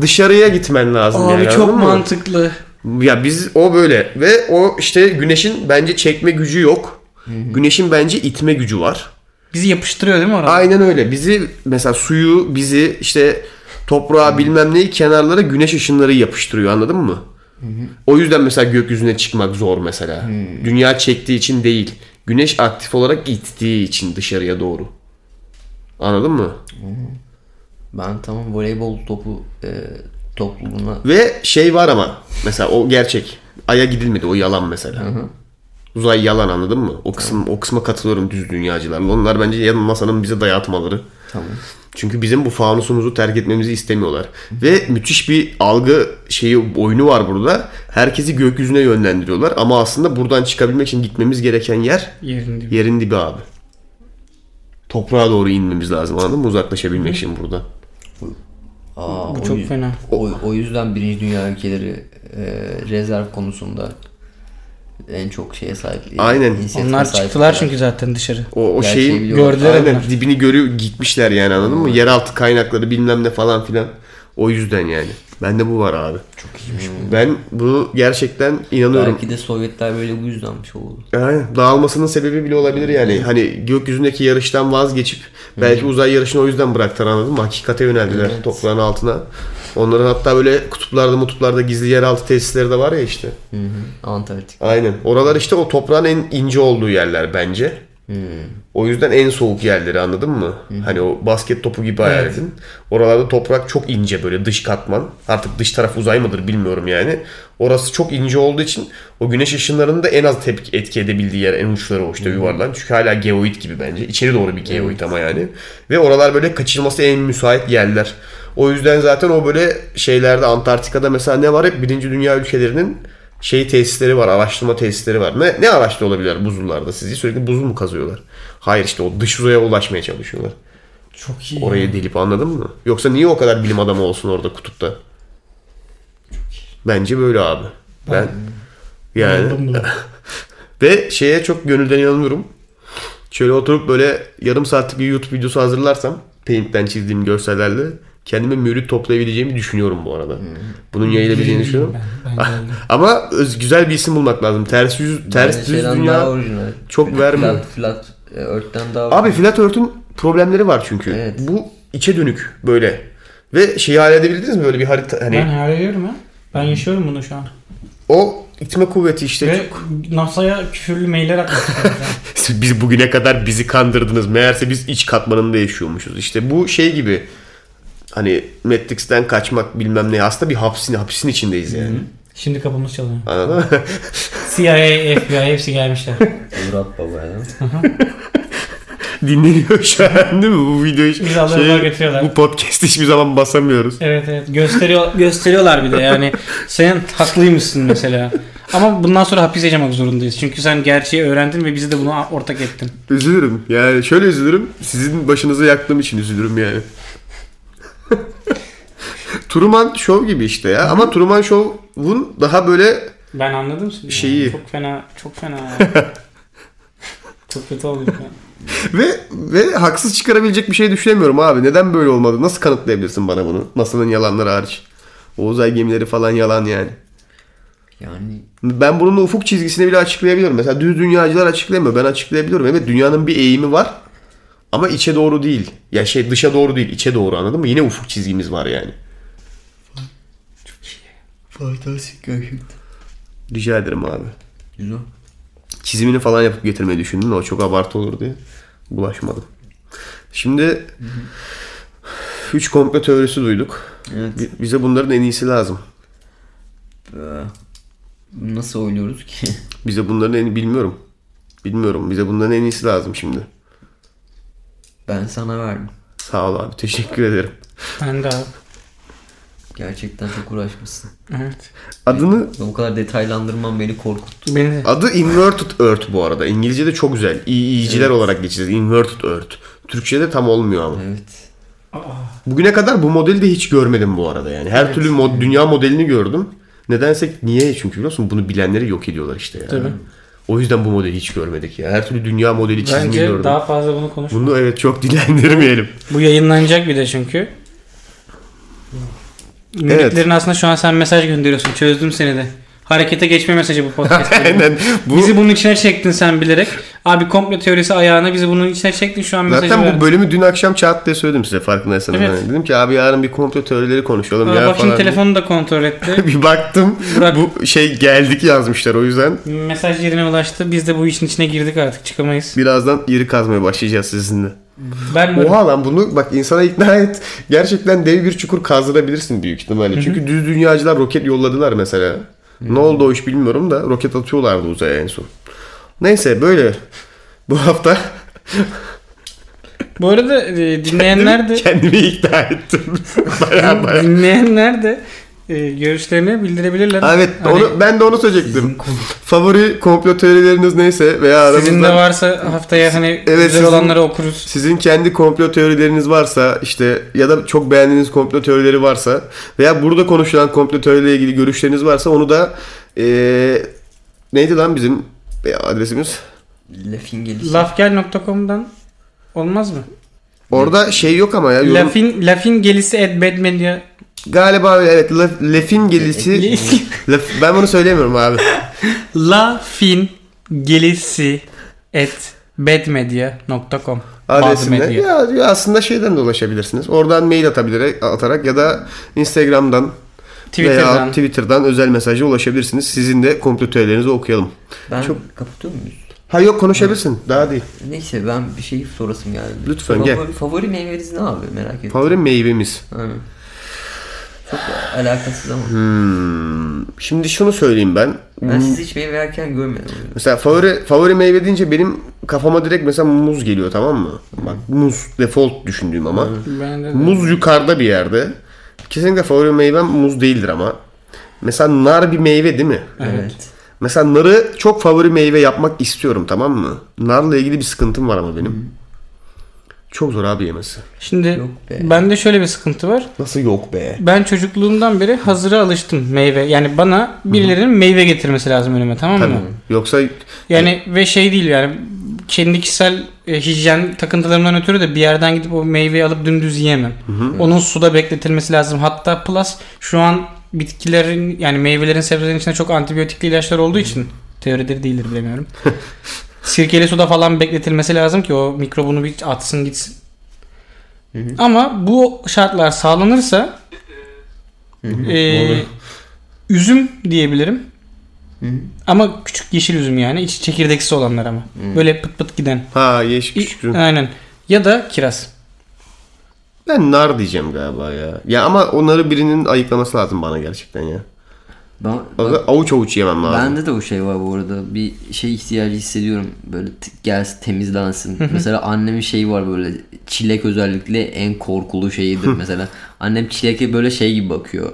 Speaker 1: dışarıya gitmen lazım
Speaker 2: Abi
Speaker 1: yani.
Speaker 2: çok
Speaker 1: anladın mı?
Speaker 2: mantıklı.
Speaker 1: Ya biz o böyle ve o işte güneşin bence çekme gücü yok. Güneşin bence itme gücü var.
Speaker 2: Bizi yapıştırıyor değil mi orada?
Speaker 1: Aynen öyle. Bizi mesela suyu, bizi işte toprağa bilmem neyi kenarlara güneş ışınları yapıştırıyor anladın mı? O yüzden mesela gökyüzüne çıkmak zor mesela. Dünya çektiği için değil. Güneş aktif olarak ittiği için dışarıya doğru. Anladın mı?
Speaker 3: Ben tamam voleybol topu e, topluluğuna
Speaker 1: Ve şey var ama mesela o gerçek. Ay'a gidilmedi o yalan mesela. Uzay yalan anladın mı? O kısım o kısma katılıyorum düz dünyacılarla. Onlar bence yan masanın bize dayatmaları.
Speaker 3: tamam.
Speaker 1: Çünkü bizim bu fanusumuzu terk etmemizi istemiyorlar. Ve müthiş bir algı şeyi oyunu var burada. Herkesi gökyüzüne yönlendiriyorlar ama aslında buradan çıkabilmek için gitmemiz gereken yer
Speaker 2: Yerin dibi.
Speaker 1: yerin dibi abi. Toprağa doğru inmemiz lazım anladın mı? Uzaklaşabilmek için buradan.
Speaker 3: Aa,
Speaker 2: Bu
Speaker 3: o
Speaker 2: çok
Speaker 3: yüz-
Speaker 2: fena.
Speaker 3: O, o yüzden birinci dünya ülkeleri e, rezerv konusunda en çok şeye sahip. e,
Speaker 1: Aynen.
Speaker 3: inisiyatife
Speaker 2: Onlar
Speaker 3: sahip
Speaker 2: çıktılar
Speaker 3: olan.
Speaker 2: çünkü zaten dışarı.
Speaker 1: O, o
Speaker 3: Gerçeği
Speaker 1: şeyin
Speaker 3: biliyorlar.
Speaker 2: Gördüler
Speaker 1: Aynen,
Speaker 2: onlar.
Speaker 1: dibini görüyor gitmişler yani anladın mı? Yeraltı kaynakları bilmem ne falan filan. O yüzden yani. Bende bu var abi. Çok iyiymiş bu. Ben bunu gerçekten inanıyorum.
Speaker 3: Belki de Sovyetler böyle bu yüzdenmiş oldu.
Speaker 1: Yani dağılmasının sebebi bile olabilir yani. Hani gökyüzündeki yarıştan vazgeçip belki uzay yarışını o yüzden bıraktılar anladın mı? Hakikate yöneldiler toprağın altına. Onların hatta böyle kutuplarda mutuplarda gizli yeraltı tesisleri de var ya işte.
Speaker 3: Hı hı. Antarktik.
Speaker 1: Aynen. Oralar işte o toprağın en ince olduğu yerler bence. O yüzden en soğuk yerleri anladın mı? Hani o basket topu gibi hayal edin. Oralarda toprak çok ince böyle dış katman. Artık dış taraf uzay mıdır bilmiyorum yani. Orası çok ince olduğu için o güneş ışınlarının da en az tepki etki edebildiği yer en uçları o işte yuvarlan. Çünkü hala geoid gibi bence. İçeri doğru bir geoid ama yani. Ve oralar böyle kaçırılması en müsait yerler. O yüzden zaten o böyle şeylerde Antarktika'da mesela ne var hep birinci dünya ülkelerinin şey tesisleri var, araştırma tesisleri var. Ne, ne araçta olabilir buzullarda sizi? Sürekli buzul mu kazıyorlar? Hayır işte o dış uzaya ulaşmaya çalışıyorlar.
Speaker 2: Çok iyi.
Speaker 1: Orayı delip anladın mı? Yoksa niye o kadar bilim adamı olsun orada kutupta? Bence böyle abi. Ben yani ve şeye çok gönülden inanıyorum. Şöyle oturup böyle yarım saatlik bir YouTube videosu hazırlarsam Paint'ten çizdiğim görsellerle kendime mürit toplayabileceğimi düşünüyorum bu arada. Bunun yayılabileceğini düşünüyorum.
Speaker 2: Ben,
Speaker 1: Hani-
Speaker 2: ben geldim.
Speaker 1: Ama öz, güzel bir isim bulmak lazım. Ters yüz,
Speaker 3: Yani
Speaker 1: ters düz
Speaker 3: şeyden
Speaker 1: dünya.
Speaker 3: daha orijinal.
Speaker 1: çok
Speaker 3: Flat-
Speaker 1: vermiyor.
Speaker 3: Flat, flat e, Earth'ten daha
Speaker 1: Abi flat örtün problemleri var çünkü.
Speaker 3: Evet.
Speaker 1: Bu içe dönük böyle. Ve şeyi hayal edebildiniz mi böyle bir harita hani
Speaker 2: ben hayal ediyorum ya. Ben yaşıyorum bunu şu an.
Speaker 1: o itme kuvveti işte
Speaker 2: Ve NASA'ya küfürlü mailler atmışlar.
Speaker 1: biz bugüne kadar bizi kandırdınız. Meğerse biz iç katmanında yaşıyormuşuz. İşte bu şey gibi hani Matrix'ten kaçmak bilmem ne aslında bir hapsin hapisin içindeyiz yani.
Speaker 2: Şimdi kapımız çalıyor.
Speaker 1: Anladın mı?
Speaker 2: CIA, FBI hepsi gelmişler.
Speaker 3: Murat Baba ya.
Speaker 1: Dinleniyor şu an değil mi? Bu videoyu
Speaker 2: Biz Allah'a götürüyorlar.
Speaker 1: bu podcast hiçbir zaman basamıyoruz.
Speaker 2: Evet evet gösteriyor gösteriyorlar bir de yani sen haklıymışsın mesela. Ama bundan sonra hapis yaşamak zorundayız. Çünkü sen gerçeği öğrendin ve bizi de buna ortak ettin.
Speaker 1: Üzülürüm. Yani şöyle üzülürüm. Sizin başınızı yaktığım için üzülürüm yani. Truman Show gibi işte ya. Ama Truman Show'un daha böyle
Speaker 2: Ben anladım seni.
Speaker 1: Şeyi-
Speaker 2: Çok fena çok fena. çok kötü oldu. ya.
Speaker 1: ve ve haksız çıkarabilecek bir şey düşünemiyorum abi. Neden böyle olmadı? Nasıl kanıtlayabilirsin bana bunu? NASA'nın yalanları hariç. O uzay gemileri falan yalan yani.
Speaker 3: Yani
Speaker 1: Ben bunun ufuk çizgisini bile açıklayabiliyorum. Mesela düz dünyacılar açıklayamıyor. Ben açıklayabiliyorum. Evet dünyanın bir eğimi var. Ama içe doğru değil. Ya şey dışa doğru değil. içe doğru anladın mı? Yine ufuk çizgimiz var yani.
Speaker 3: fantastik gerçekten.
Speaker 1: Rica ederim abi.
Speaker 3: Güzel.
Speaker 1: Çizimini falan yapıp getirmeyi düşündüm de o çok abartı olur diye bulaşmadım. Şimdi 3 komplo teorisi duyduk.
Speaker 3: Evet.
Speaker 1: Bi- Bize bunların en iyisi lazım.
Speaker 3: Ee, Nasıl oynuyoruz ki?
Speaker 1: Bize bunların en bilmiyorum. Bilmiyorum. Bize bunların en iyisi lazım şimdi.
Speaker 3: ben sana verdim.
Speaker 1: Sağ ol abi. Teşekkür ederim.
Speaker 2: Ben de abi.
Speaker 3: Gerçekten çok uğraşmışsın.
Speaker 2: Evet.
Speaker 1: Adını
Speaker 3: Bu kadar detaylandırman beni korkuttu.
Speaker 2: Beni de.
Speaker 1: adı Inverted Earth bu arada. İngilizce'de çok güzel. İyiciler olarak geçeceğiz. Inverted Earth. Türkçe'de tam olmuyor ama.
Speaker 3: Evet.
Speaker 1: Bugüne kadar bu modeli de hiç görmedim bu arada yani. Her türlü mod, dünya modelini gördüm. Nedense niye? Çünkü biliyorsun bunu bilenleri yok ediyorlar işte ya.
Speaker 2: Tabii.
Speaker 1: O yüzden bu modeli hiç görmedik ya. Her türlü dünya modeli çizimi gördüm.
Speaker 2: Bence daha fazla bunu konuş.
Speaker 1: Bunu evet çok dilendirmeyelim.
Speaker 2: Bu yayınlanacak bir de çünkü. Linklerin aslında şu an sen mesaj gönderiyorsun. Çözdüm seni de. Harekete geçme mesajı bu podcast.
Speaker 1: Aynen. Bu,
Speaker 2: Bizi bunun içine çektin sen bilerek. Abi komplo teorisi ayağına bizi bunun içine çektin şu an mesajı
Speaker 1: zaten bu
Speaker 2: verdin.
Speaker 1: bölümü dün akşam çat diye söyledim size farkındaysanız.
Speaker 2: Evet.
Speaker 1: Hani Dedim ki abi yarın bir komplo teorileri konuşalım
Speaker 2: Aa,
Speaker 1: ya
Speaker 2: bak şimdi
Speaker 1: falan.
Speaker 2: telefonu da kontrol etti.
Speaker 1: bir baktım
Speaker 2: Burak-
Speaker 1: bu şey geldik yazmışlar o yüzden
Speaker 2: Mesaj yerine ulaştı. Biz de bu işin içine girdik artık çıkamayız.
Speaker 1: birazdan yeri kazmaya başlayacağız sizinle.
Speaker 2: Ben varım.
Speaker 1: Oha lan bunu bak insana ikna et. Gerçekten dev bir çukur kazdırabilirsin büyük ihtimalle. Çünkü düz dünyacılar roket yolladılar mesela. Ne oldu o iş bilmiyorum da roket atıyorlardı uzaya en son. Neyse böyle bu hafta
Speaker 2: Bu arada e, dinleyenler de
Speaker 1: kendimi ikna ettim. baya baya.
Speaker 2: dinleyenler de e, görüşlerini bildirebilirler.
Speaker 1: Ha, Evet
Speaker 2: Hani
Speaker 1: onu, ben de onu söyleyecektim. Favori komplo teorileriniz neyse veya
Speaker 2: sizin de
Speaker 1: aranızda
Speaker 2: varsa haftaya hani
Speaker 1: Evet,
Speaker 2: güzel
Speaker 1: sizin-
Speaker 2: olanları okuruz.
Speaker 1: Sizin kendi komplo teorileriniz varsa işte ya da çok beğendiğiniz komplo teorileri varsa veya burada konuşulan komplo teorileriyle ilgili görüşleriniz varsa onu da eee, neydi lan bizim e, adresimiz?
Speaker 3: Lafin gelişi.
Speaker 2: Lafgel.com'dan olmaz mı?
Speaker 1: Orada şey yok ama ya. yorum-
Speaker 2: Lafin lafin gelisi at badmedia.
Speaker 1: Galiba evet laf- lafin gelisi. Laf- ben bunu söyleyemiyorum abi.
Speaker 2: lafin gelisi at badmedia.com
Speaker 1: Adresinde. Ya, ya aslında şeyden de ulaşabilirsiniz. Oradan mail atabilir, atarak ya da Instagram'dan veya
Speaker 2: Twitter'dan.
Speaker 1: Twitter'dan özel mesaja ulaşabilirsiniz. Sizin de komplo teorilerinizi okuyalım.
Speaker 3: Ben
Speaker 1: Çok-
Speaker 3: kapatıyor muyuz?
Speaker 1: Ha yok konuşabilirsin. Daha değil.
Speaker 3: Neyse ben bir şey sorasım geldi.
Speaker 1: Lütfen,
Speaker 3: favori,
Speaker 1: gel.
Speaker 3: Favori meyveniz ne abi merak ettim.
Speaker 1: Favori meyvemiz.
Speaker 3: Aynen. Çok alakasız ama.
Speaker 1: Hmm, Şimdi şunu söyleyeyim ben.
Speaker 3: Ben sizi hiç meyve yerken görmedim.
Speaker 1: Mesela favori favori meyve deyince benim kafama direkt mesela muz geliyor tamam mı? Bak muz default düşündüğüm ama.
Speaker 2: Ben de-
Speaker 1: Muz yukarıda bir yerde. Kesinlikle favori meyvem muz değildir ama. Mesela nar bir meyve değil mi?
Speaker 3: Evet.
Speaker 1: Mesela narı çok favori meyve yapmak istiyorum tamam mı? Narla ilgili bir sıkıntım var ama benim. Çok zor abi yemesi.
Speaker 2: Şimdi
Speaker 3: Yok be.
Speaker 2: bende şöyle bir sıkıntı var.
Speaker 1: Nasıl yok be?
Speaker 2: Ben çocukluğumdan beri hazıra alıştım meyve. Yani bana birilerinin meyve getirmesi lazım önüme tamam mı?
Speaker 1: Tabii. Yoksa
Speaker 2: Yani ve şey değil yani kendi kişisel e, hijyen takıntılarımdan ötürü de bir yerden gidip o meyveyi alıp dümdüz yiyemem. Onun suda bekletilmesi lazım. Hatta plus şu an bitkilerin yani meyvelerin sebzelerin içinde çok antibiyotikli ilaçlar olduğu için teoridir değildir bilemiyorum. Sirkeli suda falan bekletilmesi lazım ki o mikrobunu bir atsın gitsin. Ama bu şartlar sağlanırsa e, üzüm diyebilirim. Ama küçük yeşil üzüm yani. İçi çekirdeksiz olanlar ama. Böyle pıt pıt giden.
Speaker 1: ha yeşil
Speaker 2: İ-
Speaker 1: Hmm. küçük.
Speaker 2: Aynen. Ya da kiraz.
Speaker 1: Ben nar diyeceğim galiba ya. Ya ama onları birinin ayıklaması lazım bana gerçekten ya.
Speaker 3: Ben,
Speaker 1: Bak, avuç avuç yemem lazım.
Speaker 3: Bende de o şey var bu arada. Bir şey ihtiyacı hissediyorum. Böyle t- gelsin temizlensin. mesela annemin şeyi var böyle çilek özellikle en korkulu şeyidir mesela. Annem çileke böyle şey gibi bakıyor.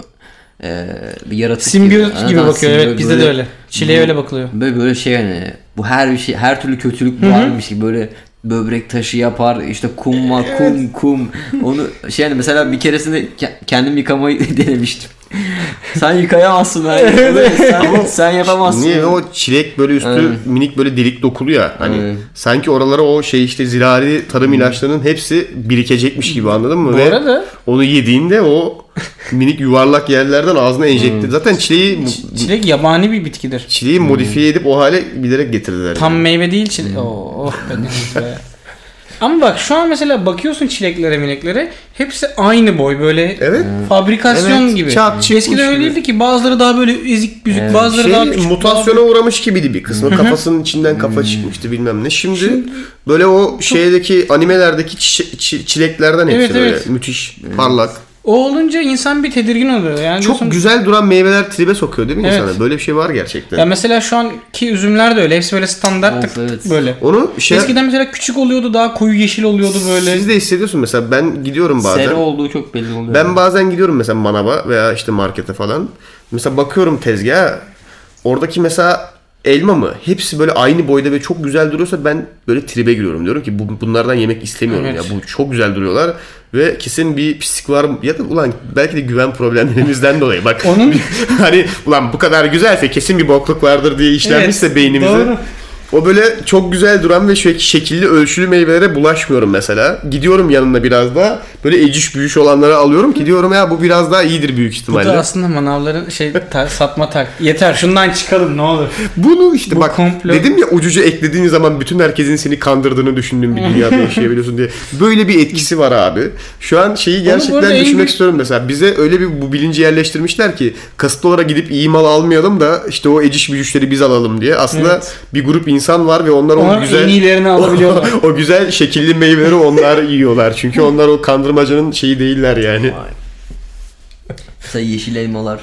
Speaker 3: Ee, bir yaratık
Speaker 2: Simbiyot
Speaker 3: Anadan
Speaker 2: gibi bakıyor. Evet
Speaker 3: simbiyot
Speaker 2: bizde de
Speaker 3: böyle-
Speaker 2: öyle. Çileğe öyle bakılıyor.
Speaker 1: Hmm.
Speaker 3: Böyle böyle şey hani bu her bir şey her türlü kötülük varmış gibi böyle böbrek taşı yapar işte kum var kum kum onu şey hani mesela bir keresinde ke- kendim yıkamayı denemiştim. sen yıkayamazsın ben. sen, sen yapamazsın.
Speaker 1: Niye o çilek böyle üstü
Speaker 3: Aynen.
Speaker 1: minik böyle delik dokulu ya hani
Speaker 3: Aynen.
Speaker 1: sanki oralara o şey işte zirari tarım ilaçlarının hepsi birikecekmiş gibi anladın mı?
Speaker 2: Bu
Speaker 1: Ve
Speaker 2: arada
Speaker 1: onu yediğinde o minik yuvarlak yerlerden ağzına enjekte. Zaten çileği
Speaker 2: çilek yabani bir bitkidir.
Speaker 1: çileği modifiye edip o hale bilerek getirdiler.
Speaker 2: Tam meyve değil
Speaker 1: Hmm.
Speaker 2: çilek. Oo, oh be Deniz be. Ama bak şu an mesela bakıyorsun çileklere mileklere hepsi aynı boy böyle
Speaker 1: Evet.
Speaker 2: fabrikasyon
Speaker 1: Evet,
Speaker 2: gibi.
Speaker 1: çat çıkmış
Speaker 2: Eskiden öyle
Speaker 1: gibi.
Speaker 2: değildi ki bazıları daha böyle ezik büzük bazıları daha
Speaker 1: Şey,
Speaker 2: küçük.
Speaker 1: mutasyona uğramış gibiydi bir kısmı. Kafasının içinden
Speaker 2: Hmm.
Speaker 1: kafa çıkmıştı bilmem ne. Şimdi,
Speaker 2: Şey-
Speaker 1: böyle o şeydeki animelerdeki çi- çi- çileklerden hepsi
Speaker 2: Evet,
Speaker 1: böyle
Speaker 2: evet.
Speaker 1: müthiş parlak.
Speaker 2: O olunca insan bir tedirgin oluyor. Yani
Speaker 1: Çok
Speaker 2: diyorsun-
Speaker 1: güzel duran meyveler tribe sokuyor değil mi
Speaker 2: Evet.
Speaker 1: insana? Böyle bir şey var gerçekten.
Speaker 2: Ya mesela şu anki üzümler de öyle. Hepsi böyle standart
Speaker 3: Of, evet.
Speaker 2: böyle.
Speaker 1: Onu şey
Speaker 2: Eskiden mesela küçük oluyordu daha koyu yeşil oluyordu böyle.
Speaker 1: siz de hissediyorsun mesela ben gidiyorum bazen.
Speaker 3: Sera olduğu çok belli oluyor.
Speaker 1: Ben bazen gidiyorum mesela manava veya işte markete falan. Mesela bakıyorum tezgaha. Oradaki mesela elma mı hepsi böyle aynı boyda ve çok güzel duruyorsa ben böyle tribe giriyorum. Diyorum ki bu, bunlardan yemek istemiyorum
Speaker 2: Evet.
Speaker 1: ya. Bu çok güzel duruyorlar ve kesin bir pislik var mı? Ya da ulan belki de güven problemlerimizden dolayı. Bak
Speaker 2: Onun-
Speaker 1: hani ulan bu kadar güzelse kesin bir bokluk vardır diye işlenmişse
Speaker 2: Evet,
Speaker 1: beynimize.
Speaker 2: doğru.
Speaker 1: O böyle çok güzel duran ve şek- şekilli ölçülü meyvelere bulaşmıyorum mesela. Gidiyorum yanında biraz daha böyle eciş büyüş olanları alıyorum ki diyorum ya bu biraz daha iyidir büyük
Speaker 2: Bu
Speaker 1: ihtimalle.
Speaker 2: da aslında manavların şey ta- satma tak. Yeter şundan çıkalım ne olur.
Speaker 1: Bunu işte
Speaker 2: Bu
Speaker 1: bak
Speaker 2: komplo-
Speaker 1: dedim ya ucucu eklediğin zaman bütün herkesin seni kandırdığını düşündüğün bir dünyada yaşayabiliyorsun diye. Böyle bir etkisi var abi. Şu an şeyi gerçekten
Speaker 2: arada en
Speaker 1: düşünmek
Speaker 2: büyük-
Speaker 1: istiyorum mesela. Bize öyle bir bu bilinci yerleştirmişler ki kasıtlı olarak gidip iyi mal almayalım da işte o eciş büyüşleri biz alalım diye. Aslında bir grup insan var ve onlar o
Speaker 2: Onlar
Speaker 1: güzel
Speaker 2: en iyilerini alabiliyorlar.
Speaker 1: o güzel şekilli meyveleri onlar yiyorlar. Çünkü onlar o kandırmacanın şeyi değiller yani.
Speaker 3: Vay. Mesela yeşil elmalar.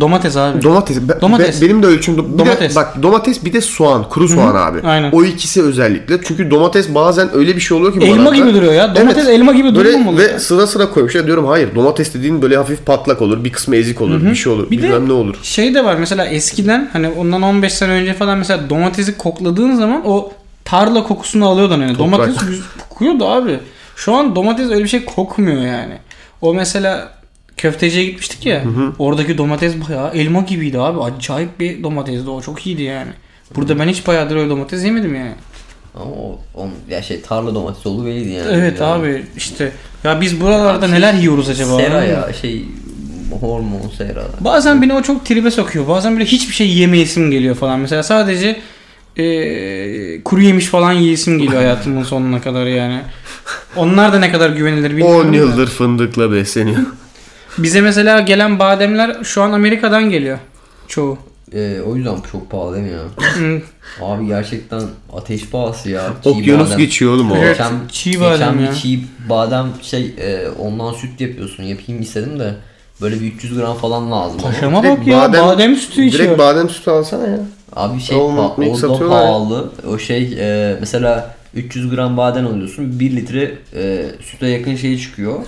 Speaker 2: Domates abi.
Speaker 1: Domates. Be-
Speaker 2: Domates.
Speaker 1: be- benim de ölçüm do- bir
Speaker 2: Domates.
Speaker 1: De, bak domates bir de soğan, kuru soğan abi.
Speaker 2: aynen.
Speaker 1: O ikisi özellikle. Çünkü domates bazen öyle bir şey oluyor ki bu
Speaker 2: elma
Speaker 1: arada.
Speaker 2: gibi duruyor ya. Domates
Speaker 1: Evet.
Speaker 2: elma gibi
Speaker 1: Böyle
Speaker 2: durmuyor mu? oluyor?
Speaker 1: ve sıra sıra koymuş. Ya diyorum hayır domates dediğin böyle hafif patlak olur. Bir kısmı ezik olur. Bir şey olur.
Speaker 2: Bir de-
Speaker 1: bilmem ne olur.
Speaker 2: Şey de var mesela eskiden hani ondan 15 sene önce falan mesela domatesi kokladığın zaman o tarla kokusunu alıyordun yani.
Speaker 1: Toprak.
Speaker 2: Domates yüz- kokuyordu abi. Şu an domates öyle bir şey kokmuyor yani. O mesela köfteciye gitmiştik ya. Oradaki domates bayağı elma gibiydi abi. Acayip bir domatesti o. Çok iyiydi yani. Burada ben hiç bayağıdır öyle domates yemedim yani.
Speaker 3: Ama o, on, ya şey tarla domates olduğu belliydi yani.
Speaker 2: Evet
Speaker 3: Yani şey,
Speaker 2: abi işte ya biz buralarda neler yiyoruz acaba?
Speaker 3: Sera
Speaker 2: Anladın mı?
Speaker 3: ya şey hormon sera.
Speaker 2: Bazen beni o çok tribe sokuyor. Bazen böyle hiçbir şey yemeyesim geliyor falan. Mesela sadece eee, kuru yemiş falan yiyesim geliyor hayatımın sonuna kadar yani. Onlar da ne kadar güvenilir bilmiyorum.
Speaker 1: 10
Speaker 2: da.
Speaker 1: yıldır fındıkla besleniyor.
Speaker 2: Bize mesela gelen bademler şu an Amerika'dan geliyor. Çoğu.
Speaker 3: Ee, o yüzden çok pahalı değil mi ya?
Speaker 2: Hı.
Speaker 3: Abi gerçekten ateş pahası ya. Çiğ
Speaker 1: Okyanus
Speaker 3: badem.
Speaker 1: geçiyor oğlum o.
Speaker 2: Evet.
Speaker 3: Geçen,
Speaker 2: çiğ
Speaker 3: geçen
Speaker 2: badem
Speaker 3: bir
Speaker 2: ya.
Speaker 3: Çiğ badem şey e, ondan süt yapıyorsun. Yapayım istedim de böyle bir 300 gram falan lazım. ama.
Speaker 2: Paşama
Speaker 1: Direkt
Speaker 2: bak ya badem, sütü içiyor.
Speaker 1: Direkt badem sütü alsana ya.
Speaker 3: Abi şey
Speaker 1: Oğlum,
Speaker 3: pa-
Speaker 1: milk
Speaker 3: o da
Speaker 1: satıyorlar ya.
Speaker 3: pahalı. O şey e, mesela 300 gram badem alıyorsun. 1 litre e, süte yakın şey çıkıyor.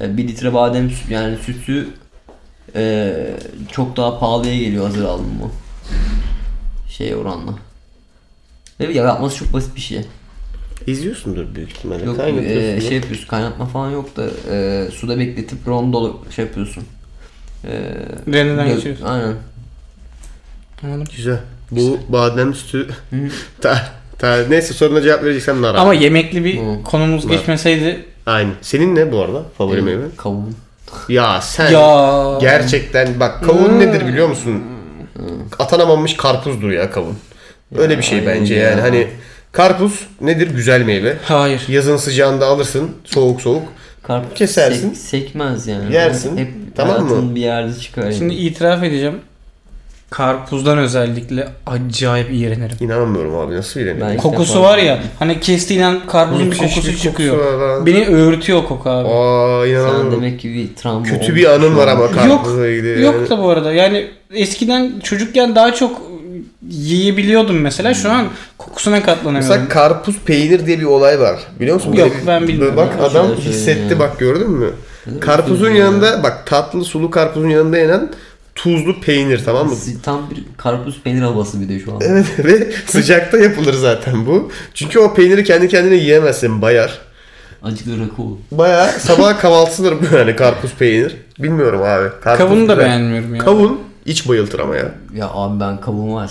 Speaker 3: E, 1 litre badem sü- yani sütü e, çok daha pahalıya geliyor hazır aldım bu. Şey oranla. Ve ya yapması çok basit bir şey.
Speaker 1: İzliyorsundur büyük ihtimalle.
Speaker 3: Yok e,
Speaker 1: Kaynatıyorsundur.
Speaker 3: şey yapıyorsun kaynatma falan yok da e, suda bekletip rondolu şey yapıyorsun. E,
Speaker 2: Rendeden
Speaker 3: gö-
Speaker 2: geçiyorsun.
Speaker 3: Aynen.
Speaker 2: Anladım.
Speaker 1: Güzel. Bu badem sütü... ta, ta, neyse soruna cevap vereceksem nar.
Speaker 2: Ama
Speaker 1: abi.
Speaker 2: yemekli bir
Speaker 3: Hı.
Speaker 2: konumuz
Speaker 1: Var.
Speaker 2: geçmeseydi
Speaker 1: Aynı. Senin ne bu arada favori meyve?
Speaker 3: E, Kavun.
Speaker 1: Ya sen
Speaker 2: ya
Speaker 1: gerçekten bak kavun
Speaker 3: Hmm.
Speaker 1: nedir biliyor musun? Atanamamış karpuzdur ya kavun. Öyle bir şey
Speaker 3: aynen
Speaker 1: bence
Speaker 3: ya.
Speaker 1: yani hani karpuz nedir güzel meyve.
Speaker 2: Hayır.
Speaker 1: Yazın sıcağında alırsın soğuk soğuk
Speaker 3: Karpuz
Speaker 1: Kesersin.
Speaker 3: sek- sekmez yani.
Speaker 1: Yersin.
Speaker 3: Hep
Speaker 1: Tamam mı?
Speaker 3: hayatın bir yerde çıkar. yani.
Speaker 2: Şimdi itiraf edeceğim. Karpuzdan özellikle acayip iğrenirim.
Speaker 1: inanamıyorum abi nasıl
Speaker 3: Ben-
Speaker 1: bilemiyorum.
Speaker 2: Kokusu var ya hani kestiğinden karpuzun bir kokusu çıkıyor.
Speaker 1: Var,
Speaker 2: Beni öğürtüyor o koku abi.
Speaker 1: Aa
Speaker 3: Sen
Speaker 1: inanamıyorum.
Speaker 3: demek ki bir travma
Speaker 1: Kötü
Speaker 3: olmuş
Speaker 1: bir anın var
Speaker 3: şu an.
Speaker 1: ama karpuzla ilgili. yani.
Speaker 2: Yok da bu arada yani eskiden çocukken daha çok yiyebiliyordum mesela şu an kokusuna katlanamıyorum.
Speaker 1: Mesela karpuz peynir diye bir olay var. Biliyor musun?
Speaker 2: Yok,
Speaker 1: Böyle bir-
Speaker 2: ben bilmiyorum.
Speaker 1: Bak
Speaker 3: Ben
Speaker 1: adam
Speaker 3: şöyle söyleyeyim
Speaker 1: hissetti
Speaker 3: ya.
Speaker 1: bak gördün mü? Karpuzun
Speaker 3: üzüldüm
Speaker 1: yanında bak tatlı sulu karpuzun yanında yenen tuzlu peynir tamam mı?
Speaker 3: Siz- Tam bir karpuz peynir havası bir de şu an.
Speaker 1: Evet ve sıcakta yapılır zaten bu. Çünkü o peyniri kendi kendine yiyemezsin bayar.
Speaker 3: Acıklı rakı olur.
Speaker 1: Baya sabah kahvaltısıdır bu yani karpuz peynir. Bilmiyorum abi. Karpuz
Speaker 2: Kavunu da
Speaker 1: güzel.
Speaker 2: beğenmiyorum ya.
Speaker 1: Kavun iç bayıltır ama ya.
Speaker 3: Ya abi ben kavun var.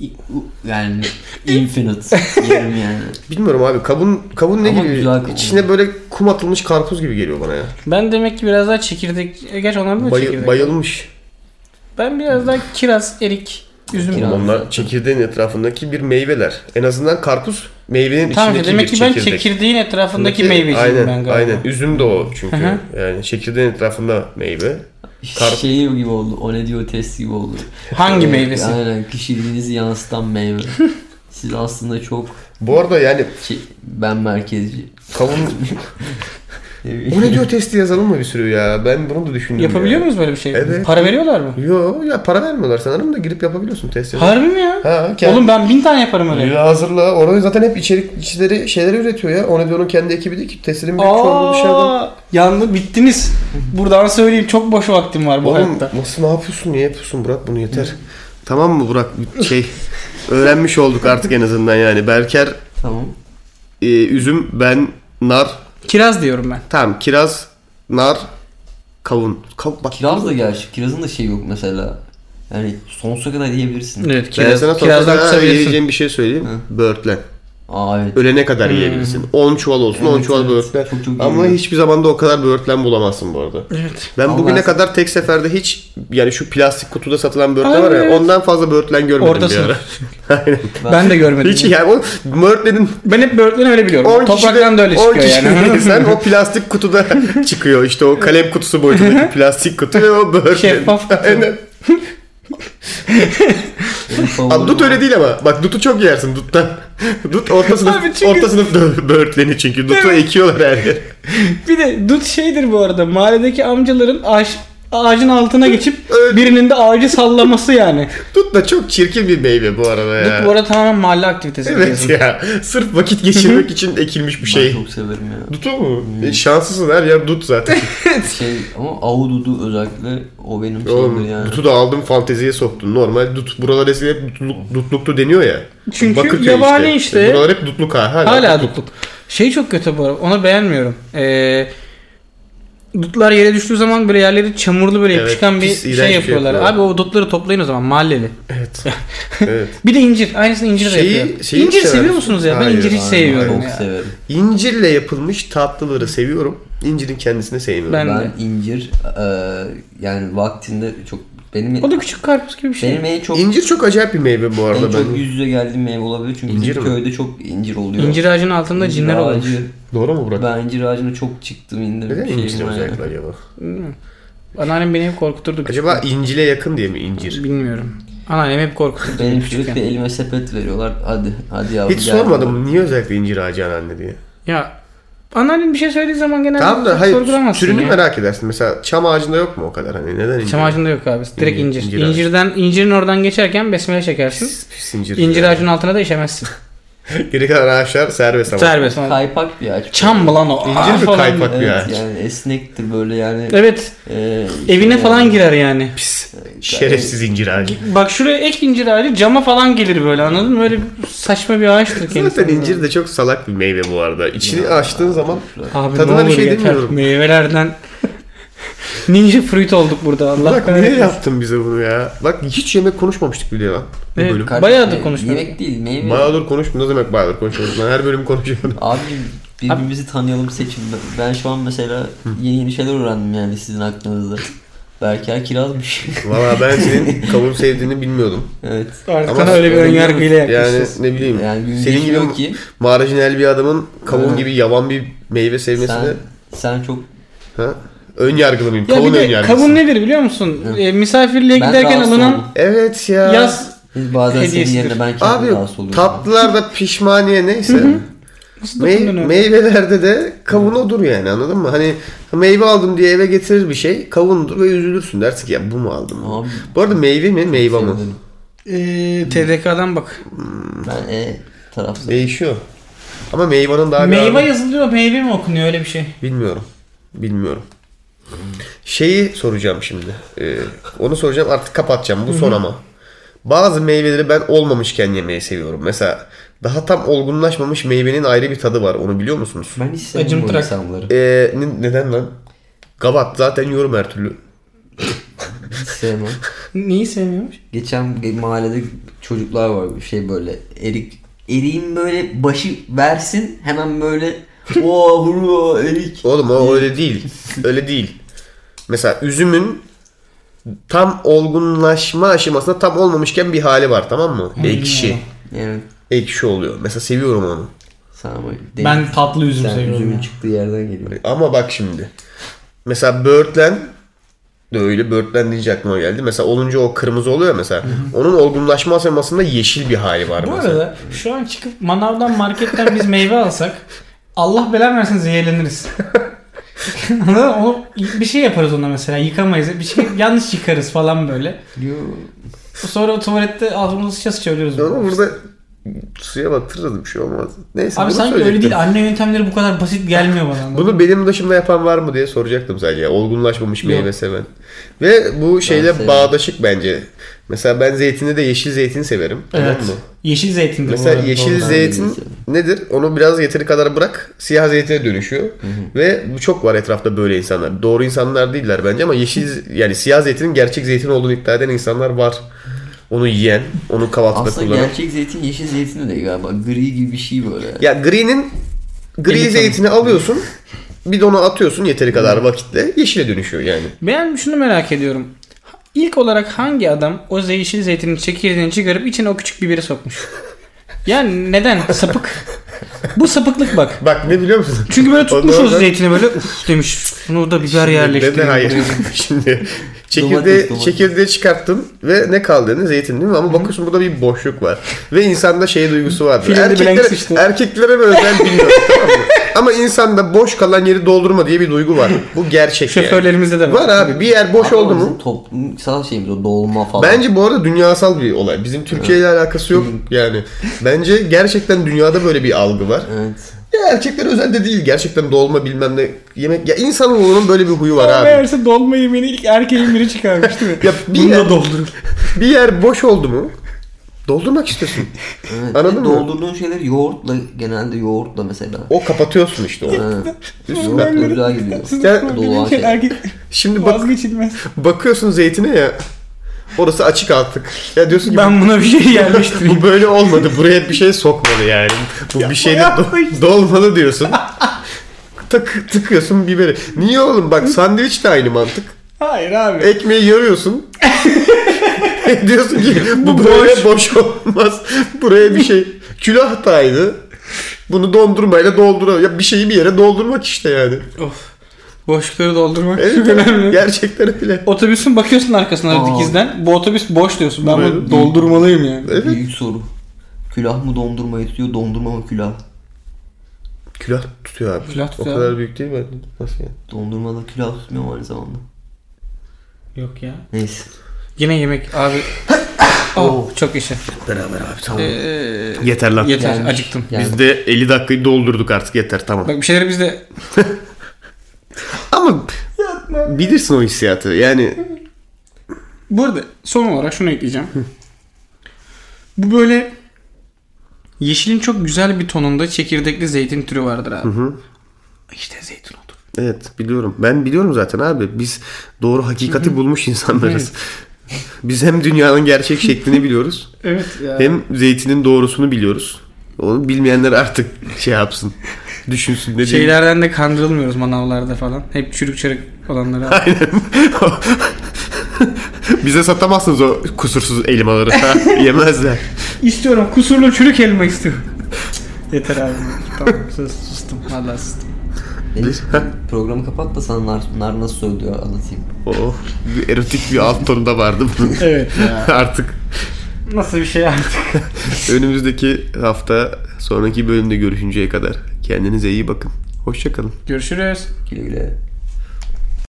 Speaker 3: İ- u- Yani infinite yerim yani.
Speaker 1: Bilmiyorum abi kavun kavun ne
Speaker 3: Ama
Speaker 1: gibi?
Speaker 3: güzel kavun.
Speaker 1: İçine böyle kum atılmış karpuz gibi geliyor bana ya.
Speaker 2: Ben demek ki biraz daha çekirdek, e, gerçi onlar da
Speaker 1: Bayı-
Speaker 2: çekirdek.
Speaker 1: bayılmış.
Speaker 2: Ben biraz daha kiraz, erik, üzüm.
Speaker 3: Kiraz.
Speaker 1: Oğlum onlar çekirdeğin etrafındaki bir meyveler. En azından karpuz meyvenin
Speaker 2: Tamam
Speaker 1: içindeki
Speaker 2: demek
Speaker 1: bir
Speaker 2: ki ben
Speaker 1: çekirdek.
Speaker 2: çekirdeğin etrafındaki meyveciyim
Speaker 1: aynen,
Speaker 2: ben galiba.
Speaker 1: Aynen. Üzüm de o çünkü.
Speaker 2: Hı
Speaker 1: yani çekirdeğin etrafında meyve. Karp-
Speaker 3: Şey gibi oldu. O ne diyor test gibi oldu.
Speaker 2: Hangi
Speaker 3: Ee,
Speaker 2: meyvesi?
Speaker 3: Aynen kişiliğinizi yansıtan meyve. Siz aslında çok
Speaker 1: Bu arada yani
Speaker 3: şey, ben merkezci.
Speaker 1: kavun... o ne diyor testi yazalım mı bir sürü ya? Ben bunu da düşündüm
Speaker 2: Yapabiliyor
Speaker 1: ya.
Speaker 2: muyuz böyle bir şey?
Speaker 1: Evet.
Speaker 2: Para veriyorlar mı?
Speaker 1: Yo ya para vermiyorlar sanırım da girip yapabiliyorsun test yazıp.
Speaker 2: Harbi mi ya?
Speaker 1: Ha, kendi-
Speaker 2: Oğlum ben bin tane yaparım öyle.
Speaker 1: Ya hazırla. Orada zaten hep içerikçileri şeyleri üretiyor ya. O ne diyor onun kendi ekibi değil ki. Testinin büyük çoğunluğu şey dışarıdan.
Speaker 2: Aa, şey yandı bittiniz. Buradan söyleyeyim çok boş vaktim var bu
Speaker 1: Oğlum
Speaker 2: hayatta.
Speaker 1: nasıl ne yapıyorsun? Niye yapıyorsun? Bırak bunu yeter. Tamam mı Burak? Şey öğrenmiş olduk artık en azından yani. Berker,
Speaker 3: Tamam.
Speaker 1: e, üzüm, ben, nar.
Speaker 2: Kiraz diyorum ben.
Speaker 1: Tamam kiraz, nar, kavun. Kavun bak.
Speaker 3: Kiraz da gerçi. Kirazın da şey yok mesela. Yani sonsuza kadar yiyebilirsin.
Speaker 2: Evet
Speaker 1: ben
Speaker 2: kiraz,
Speaker 1: sana
Speaker 2: kirazdan
Speaker 1: kirazdan
Speaker 2: kısabilirsin.
Speaker 1: yiyeceğim bir şey söyleyeyim. Böğürtlen.
Speaker 3: Aa evet.
Speaker 1: Ölene kadar
Speaker 2: Hmm.
Speaker 1: yiyebilirsin. 10 çuval olsun, 10
Speaker 3: Evet,
Speaker 1: çuval
Speaker 3: evet.
Speaker 1: böğürtlen.
Speaker 3: Çok çok
Speaker 1: Ama
Speaker 3: iyi.
Speaker 1: hiçbir zaman da o kadar böğürtlen bulamazsın bu arada.
Speaker 2: Evet.
Speaker 1: Ben
Speaker 3: Ama
Speaker 1: bugüne
Speaker 3: ben-
Speaker 1: kadar tek seferde hiç yani şu plastik kutuda satılan böğürtlen
Speaker 2: Ay,
Speaker 1: var ya
Speaker 2: evet.
Speaker 1: ondan fazla böğürtlen görmedim
Speaker 2: Orta
Speaker 1: bir ara.
Speaker 2: sınıf.
Speaker 1: Aynen.
Speaker 2: Ben de görmedim.
Speaker 1: Hiç yani o böğürtlenin
Speaker 2: Ben hep böğürtlen öyle
Speaker 1: 10
Speaker 2: biliyorum.
Speaker 1: kişide-
Speaker 2: Topraktan da öyle
Speaker 1: 10
Speaker 2: çıkıyor yani.
Speaker 1: kişideysen o plastik kutuda çıkıyor. İşte o kalem kutusu boyutundaki plastik kutu ve o böğürtlen.
Speaker 2: Şeffaf kutu.
Speaker 1: Aynen.
Speaker 3: Benim favorim
Speaker 1: Abi dut
Speaker 3: o.
Speaker 1: öyle değil ama. Bak dutu çok yersin duttan. dut orta sınıf,
Speaker 2: Abi çünkü-
Speaker 1: orta sınıf bö- böğürtleni çünkü. Dutu ekiyorlar her yer.
Speaker 2: Bir de dut şeydir bu arada. Mahalledeki amcaların ağaç, ağacın altına geçip
Speaker 1: Evet.
Speaker 2: birinin de ağacı sallaması yani.
Speaker 1: Dut da çok çirkin bir meyve bu arada ya.
Speaker 2: Dut bu arada tamamen mahalle aktivitesi.
Speaker 1: Evet
Speaker 2: biliyorsun.
Speaker 1: ya. Sırf vakit geçirmek için ekilmiş bir
Speaker 3: Ben
Speaker 1: şey.
Speaker 3: çok severim ya.
Speaker 1: Dutu mu?
Speaker 2: Hmm.
Speaker 1: E, şanslısın her yer dut zaten.
Speaker 3: Şey ama avududu özellikle o benim şeyimdir
Speaker 1: Oğlum,
Speaker 3: yani.
Speaker 1: dutu da aldım fanteziye soktun. Normal dut. Buralar eskiden hep dutluk, dutluktu deniyor ya.
Speaker 2: Çünkü
Speaker 1: Bakırköy
Speaker 2: yabani işte.
Speaker 1: Buralar hep dutluk ha. Hala,
Speaker 2: Hala dutluk. Şey çok kötü bu arada. Onu beğenmiyorum. Ee, dutlar yere düştüğü zaman böyle yerleri çamurlu böyle
Speaker 1: Evet,
Speaker 2: yapışkan bir
Speaker 1: pis, iğrenç bir
Speaker 2: şey
Speaker 1: şey
Speaker 2: yapıyorlar.
Speaker 1: yapıyorlar.
Speaker 2: Abi o dutları toplayın o zaman mahalleli.
Speaker 1: Evet. evet.
Speaker 2: Bir de incir. Aynısını incir de
Speaker 1: Şeyi-
Speaker 2: yapıyor.
Speaker 1: şeyi
Speaker 2: incir
Speaker 1: sever
Speaker 2: seviyor
Speaker 1: misin?
Speaker 2: musunuz ya?
Speaker 1: Hayır,
Speaker 2: ben incir hiç
Speaker 1: hayır,
Speaker 2: sevmiyorum
Speaker 3: çok
Speaker 2: ya.
Speaker 3: severim.
Speaker 1: İncirle yapılmış tatlıları seviyorum. İncirin kendisini sevmiyorum.
Speaker 2: Ben-
Speaker 3: Ben incir e, yani vaktinde çok benim
Speaker 2: O da küçük karpuz gibi bir şey.
Speaker 3: benim en çok
Speaker 1: İncir çok acayip bir meyve bu
Speaker 3: en
Speaker 1: arada.
Speaker 3: çok
Speaker 1: Ben...
Speaker 3: yüz yüze geldiğim meyve olabilir çünkü
Speaker 1: İncir
Speaker 3: bizim
Speaker 1: mi?
Speaker 3: köyde çok incir oluyor.
Speaker 2: İncir ağacının altında
Speaker 3: İncir
Speaker 2: cinler olur.
Speaker 3: ağacı-
Speaker 1: Doğru mu Burak?
Speaker 3: Ben incir ağacına çok çıktım indim.
Speaker 1: Neden
Speaker 3: şeyim
Speaker 1: incir
Speaker 3: yani.
Speaker 1: özellikle acaba?
Speaker 2: Anneannem beni hep korkuturdu. küçükken.
Speaker 1: Acaba incile yakın diye mi incir?
Speaker 2: Bilmiyorum. Anneannem hep korkuturdu.
Speaker 3: Benim
Speaker 2: küçükken.
Speaker 3: sürekli elime sepet veriyorlar. Hadi hadi yavrum.
Speaker 1: Hiç
Speaker 3: gel.
Speaker 1: sormadım niye özellikle incir ağacı anne diye.
Speaker 2: Ya anneannem bir şey söylediği zaman genelde
Speaker 1: Tamam da
Speaker 2: çok
Speaker 1: hayır
Speaker 2: sorgulamazsın
Speaker 1: türünü
Speaker 2: ya.
Speaker 1: merak edersin. Mesela çam ağacında yok mu o kadar hani neden incir?
Speaker 2: Çam ağacında yok abi. Direkt incir.
Speaker 1: İncir ağacı.
Speaker 2: İncirden, incirin oradan geçerken besmele çekersin.
Speaker 1: Pis, pis incir.
Speaker 2: İncir ağacının altına da işemezsin.
Speaker 1: Geri kalan ağaçlar serbest ama.
Speaker 2: Serbest. ama.
Speaker 3: Kaypak bir ağaç.
Speaker 2: Çam mı lan o?
Speaker 1: İncir
Speaker 2: Aa
Speaker 1: mi
Speaker 2: falan.
Speaker 1: kaypak? bir
Speaker 3: Evet
Speaker 1: ağaç.
Speaker 3: yani esnektir böyle yani.
Speaker 2: Evet.
Speaker 3: e,
Speaker 2: Evine
Speaker 3: şey
Speaker 2: falan
Speaker 3: yani.
Speaker 2: girer yani.
Speaker 1: Pis. Şerefsiz incir ağacı.
Speaker 2: Bak şuraya ek incir ağacı cama falan gelir böyle anladın mı? Öyle bir saçma bir ağaçtır kendisi.
Speaker 1: Zaten incir de çok salak bir meyve bu arada. İçini açtığın zaman
Speaker 2: Abi
Speaker 1: Tadına
Speaker 2: ne
Speaker 1: bir
Speaker 2: olur
Speaker 1: şey
Speaker 2: yeter.
Speaker 1: demiyorum.
Speaker 2: Meyvelerden ninja fruit olduk burada. Allah
Speaker 1: Bak niye
Speaker 2: kahretsin.
Speaker 1: yaptın bize bunu ya? Bak hiç yemek konuşmamıştık bile lan. Bu
Speaker 2: Evet,
Speaker 1: bölüm.
Speaker 2: ka- Bayağıdır
Speaker 3: e,
Speaker 2: konuşmuyoruz.
Speaker 3: Yemek değil meyve.
Speaker 1: Bayağıdır konuşma. Ne demek bayağıdır konuşuyoruz? Lan her bölüm konuşuyoruz.
Speaker 3: Abi birbirimizi tanıyalım seçin. Ben- Ben şu an mesela yeni yeni şeyler öğrendim yani sizin hakkınızda. Berker kirazmış.
Speaker 1: Valla ben senin kavun sevdiğini bilmiyordum.
Speaker 3: evet.
Speaker 2: Artık
Speaker 1: Ama
Speaker 2: sana öyle bir
Speaker 3: öyle
Speaker 2: önyargıyla
Speaker 1: Yani
Speaker 2: yaklaşıyorsun.
Speaker 1: ne bileyim.
Speaker 3: Yani gün
Speaker 1: senin gibi
Speaker 3: geçmiyor ki
Speaker 1: marjinal bir adamın kavun
Speaker 3: Evet.
Speaker 1: gibi yavan bir meyve sevmesine
Speaker 3: sen, sen çok
Speaker 1: ha? ön yargılı mıyım?
Speaker 2: Ya
Speaker 1: kavun
Speaker 2: bir
Speaker 1: ön
Speaker 2: de
Speaker 1: yargısı.
Speaker 2: kavun nedir biliyor musun?
Speaker 3: Hı.
Speaker 2: E, misafirliğe
Speaker 3: ben
Speaker 2: giderken
Speaker 3: rahatsız
Speaker 2: alınan
Speaker 3: oldum.
Speaker 1: Evet ya.
Speaker 2: yaz
Speaker 3: Biz bazen senin
Speaker 2: hediyesidir.
Speaker 3: yerine ben kendim
Speaker 1: Abi
Speaker 3: rahatsız oluyorum.
Speaker 1: tatlılarda pişmaniye neyse.
Speaker 2: Nasıl
Speaker 1: Mey-
Speaker 2: dokundun öyle?
Speaker 1: meyvelerde de kavun odur yani anladın mı? Hani meyve aldım diye eve getirir bir şey kavundur ve üzülürsün dersin ki ya bu mu aldım?
Speaker 3: Abi
Speaker 1: Bu arada meyve mi meyve mi?
Speaker 3: sevdim.
Speaker 2: Ee, TDK'dan bak.
Speaker 3: ben e tarafsız.
Speaker 1: Değişiyor. Ama meyvanın daha bir
Speaker 2: Meyve
Speaker 1: anlamı-
Speaker 2: yazılıyor, meyve mi okunuyor öyle bir şey?
Speaker 1: Bilmiyorum. Bilmiyorum. Şeyi soracağım şimdi. Ee, onu soracağım artık kapatacağım. Bu son ama. Bazı meyveleri ben olmamışken yemeyi seviyorum. Mesela daha tam olgunlaşmamış meyvenin ayrı bir tadı var. Onu biliyor musunuz?
Speaker 3: Ben hiç sevmem bu
Speaker 2: Acımtırak.
Speaker 3: insanları.
Speaker 1: Ee, ne- neden lan? Gabat zaten yiyorum her türlü.
Speaker 3: Hiç sevmem.
Speaker 2: Neyi sevmiyormuş?
Speaker 3: Geçen bir mahallede çocuklar var bir şey böyle erik eriğin böyle başı versin hemen böyle o hurra erik
Speaker 1: Oğlum o öyle değil. Öyle değil. Mesela üzümün tam olgunlaşma aşamasında tam olmamışken bir hali var tamam mı? Ekşi.
Speaker 3: yani
Speaker 1: Ekşi oluyor. Mesela seviyorum onu.
Speaker 3: sen ama
Speaker 2: Ben tatlı üzüm
Speaker 3: sen
Speaker 2: seviyorum.
Speaker 3: üzümün
Speaker 2: ya.
Speaker 3: çıktığı yerden geliyor.
Speaker 1: Ama bak şimdi. Mesela böğürtlen de öyle böğürtlen deyince aklıma geldi. Mesela olunca o kırmızı oluyor ya mesela. Onun olgunlaşma aşamasında yeşil bir hali var
Speaker 2: Bu
Speaker 1: mesela.
Speaker 2: arada şu an çıkıp manavdan marketten biz meyve alsak Allah belanı versin zehirleniriz. Anladın mı? o bir şey yaparız ona mesela yıkamayız. Bir şey yanlış yıkarız falan böyle.
Speaker 3: Yo.
Speaker 2: Sonra o tuvalette ağzımızı sıça sıça ölüyoruz.
Speaker 1: Ama burada suya batırırız bir şey olmaz. Neyse
Speaker 2: Abi
Speaker 1: bunu
Speaker 2: sanki öyle
Speaker 1: söyleyecektim.
Speaker 2: değil. Anne yöntemleri bu kadar basit gelmiyor bana.
Speaker 1: Bunu benim dışımda yapan var mı diye soracaktım sadece. Olgunlaşmamış
Speaker 2: Yok.
Speaker 1: meyve seven. Ve bu şeyle
Speaker 3: severim.
Speaker 1: bağdaşık bence. Mesela ben zeytini de yeşil zeytini severim.
Speaker 2: Evet.
Speaker 1: Tamam mı?
Speaker 2: Yeşil zeytindir bu
Speaker 1: Mesela
Speaker 2: arada,
Speaker 1: yeşil
Speaker 2: doğru.
Speaker 3: ben de
Speaker 1: zeytin
Speaker 3: yeşil.
Speaker 1: nedir? Onu biraz yeteri kadar bırak siyah zeytine dönüşüyor. Ve bu çok var etrafta böyle insanlar. Doğru insanlar değiller bence ama yeşil yani siyah zeytinin gerçek zeytin olduğunu iddia eden insanlar var. Onu yiyen, onu kahvaltıda
Speaker 3: Aslında
Speaker 1: kullanan.
Speaker 3: gerçek zeytin yeşil zeytin de değil galiba. Gri gibi bir şey böyle.
Speaker 1: Ya gri'nin gri
Speaker 2: Elif
Speaker 1: zeytini alıyorsun. Bidona atıyorsun yeteri kadar vakitle. Yeşile dönüşüyor yani.
Speaker 2: Ben şunu merak ediyorum. İlk olarak hangi adam o ze- yeşil zeytinin çekirdeğini çıkarıp içine o küçük biberi sokmuş? yani neden? Sapık. Bu sapıklık bak.
Speaker 1: Bak ne biliyor musun?
Speaker 2: Çünkü böyle tutmuş o
Speaker 1: Ondan-
Speaker 2: zeytini böyle uf demiş. Bunu da biber
Speaker 1: Neden
Speaker 2: yerleştireyim.
Speaker 1: hayır? Şimdi çekirdeği,
Speaker 3: Domates, domates.
Speaker 1: çekirdeği çıkarttın ve ne kaldı ne zeytin değil mi? Ama bakıyorsun burada bir boşluk var. Ve insanda şey duygusu vardır.
Speaker 2: Filmde Blanks
Speaker 1: Erkeklere,
Speaker 2: işte.
Speaker 1: erkeklere mi özel bilmiyorum tamam mı? Ama insanda boş kalan yeri doldurma diye bir duygu var. Bu gerçek yani.
Speaker 2: Şoförlerimizde de
Speaker 1: Var
Speaker 2: var.
Speaker 1: abi bir yer boş
Speaker 3: Ama
Speaker 1: oldu
Speaker 3: bizim
Speaker 1: mu?
Speaker 3: Toplumsal şeyimiz o dolma falan.
Speaker 1: Bence bu arada dünyasal bir olay. Bizim Türkiye ile alakası yok yani. Bence gerçekten dünyada böyle bir algı var.
Speaker 3: Evet.
Speaker 1: Ya erkeklere özel de değil. Gerçekten dolma bilmem ne yemek. Ya insanoğlunun böyle bir huyu var abi.
Speaker 2: Meğerse dolma yemeğini ilk erkeğin biri çıkarmış değil mi?
Speaker 1: Ya bir er-
Speaker 2: Bunu
Speaker 1: yer-
Speaker 2: da doldurun.
Speaker 1: Bir yer boş oldu mu? Doldurmak istiyorsun.
Speaker 3: evet.
Speaker 1: Anladın mı?
Speaker 3: Ve Doldurduğun şeyler yoğurtla genelde yoğurtla mesela.
Speaker 1: O kapatıyorsun işte onu.
Speaker 3: Ha.
Speaker 1: Süper.
Speaker 3: Yoğurtla güzel gidiyor.
Speaker 1: Ya-
Speaker 3: Doğa şey.
Speaker 2: erkek
Speaker 1: Şimdi bak,
Speaker 2: vazgeçilmez.
Speaker 1: bakıyorsun zeytine ya. Orası açık artık. Ya diyorsun ki
Speaker 2: Ben buna bir şey yerleştireyim.
Speaker 1: bu böyle olmadı. Buraya bir şey sokmalı yani. Bu bir şeyle do- dolmalı diyorsun. Tak tıkıyorsun biberi. Niye oğlum? Bak sandviç de aynı mantık.
Speaker 2: Hayır abi.
Speaker 1: Ekmeği yarıyorsun. diyorsun ki bu böyle boş olmaz. Buraya bir şey. Külah da aynı. Bunu dondurmayla doldura. Ya bir şeyi bir yere doldurmak işte yani.
Speaker 2: Of. Boşlukları doldurmak
Speaker 1: Evet,
Speaker 2: çok önemli.
Speaker 1: Gerçekten öyle.
Speaker 2: Otobüsün bakıyorsun arkasına
Speaker 3: Aa.
Speaker 2: dikizden. Bu otobüs boş diyorsun. Ben
Speaker 1: Böyle-
Speaker 2: bunu doldurmalıyım yani.
Speaker 1: Evet.
Speaker 3: Büyük soru. Külah mı dondurma istiyor, dondurma mı külah?
Speaker 1: Külah tutuyor abi.
Speaker 2: Külah tutuyor
Speaker 1: O kadar büyük değil mi? Nasıl yani?
Speaker 3: Dondurma da külah tutmuyor mu aynı zamanda?
Speaker 2: Yok ya.
Speaker 3: Neyse.
Speaker 2: Yine yemek abi. oh, çok işe.
Speaker 1: Beraber abi tamam.
Speaker 2: Ee,
Speaker 1: yeter lan.
Speaker 2: yeter
Speaker 3: Gelmiş.
Speaker 2: acıktım.
Speaker 3: Gelmiş.
Speaker 1: Biz de 50 dakikayı doldurduk artık yeter tamam.
Speaker 2: Bak bir şeyleri biz de
Speaker 1: Ama bilirsin o hissiyatı. Yani
Speaker 2: Bu arada son olarak şunu ekleyeceğim. Bu böyle yeşilin çok güzel bir tonunda çekirdekli zeytin türü vardır abi. İşte zeytin odur.
Speaker 1: evet biliyorum. Ben biliyorum zaten abi. Biz doğru hakikati bulmuş insanlarız. Biz hem dünyanın gerçek şeklini biliyoruz.
Speaker 2: Evet ya.
Speaker 1: Hem zeytinin doğrusunu biliyoruz. Onu bilmeyenler artık şey yapsın. Düşünsün ne diyeyim.
Speaker 2: Şeylerden de kandırılmıyoruz manavlarda falan. Hep çürük çürük olanları. abi.
Speaker 1: Aynen. Bize satamazsınız o kusursuz elmaları. Ha, Yemezler.
Speaker 2: İstiyorum kusurlu çürük elma istiyorum. Yeter abi. tamam sus, sustum. Vallahi sustum.
Speaker 3: Neyse.
Speaker 1: Ha,
Speaker 3: Programı kapat da sana nar, nar nasıl söylüyor anlatayım.
Speaker 1: oh, bir erotik bir alt tonu da vardı bunun.
Speaker 2: Evet
Speaker 1: Artık
Speaker 2: Nasıl bir şey artık.
Speaker 1: önümüzdeki hafta sonraki bölümde görüşünceye kadar kendinize iyi bakın. Hoşçakalın.
Speaker 2: Görüşürüz.
Speaker 3: Güle güle.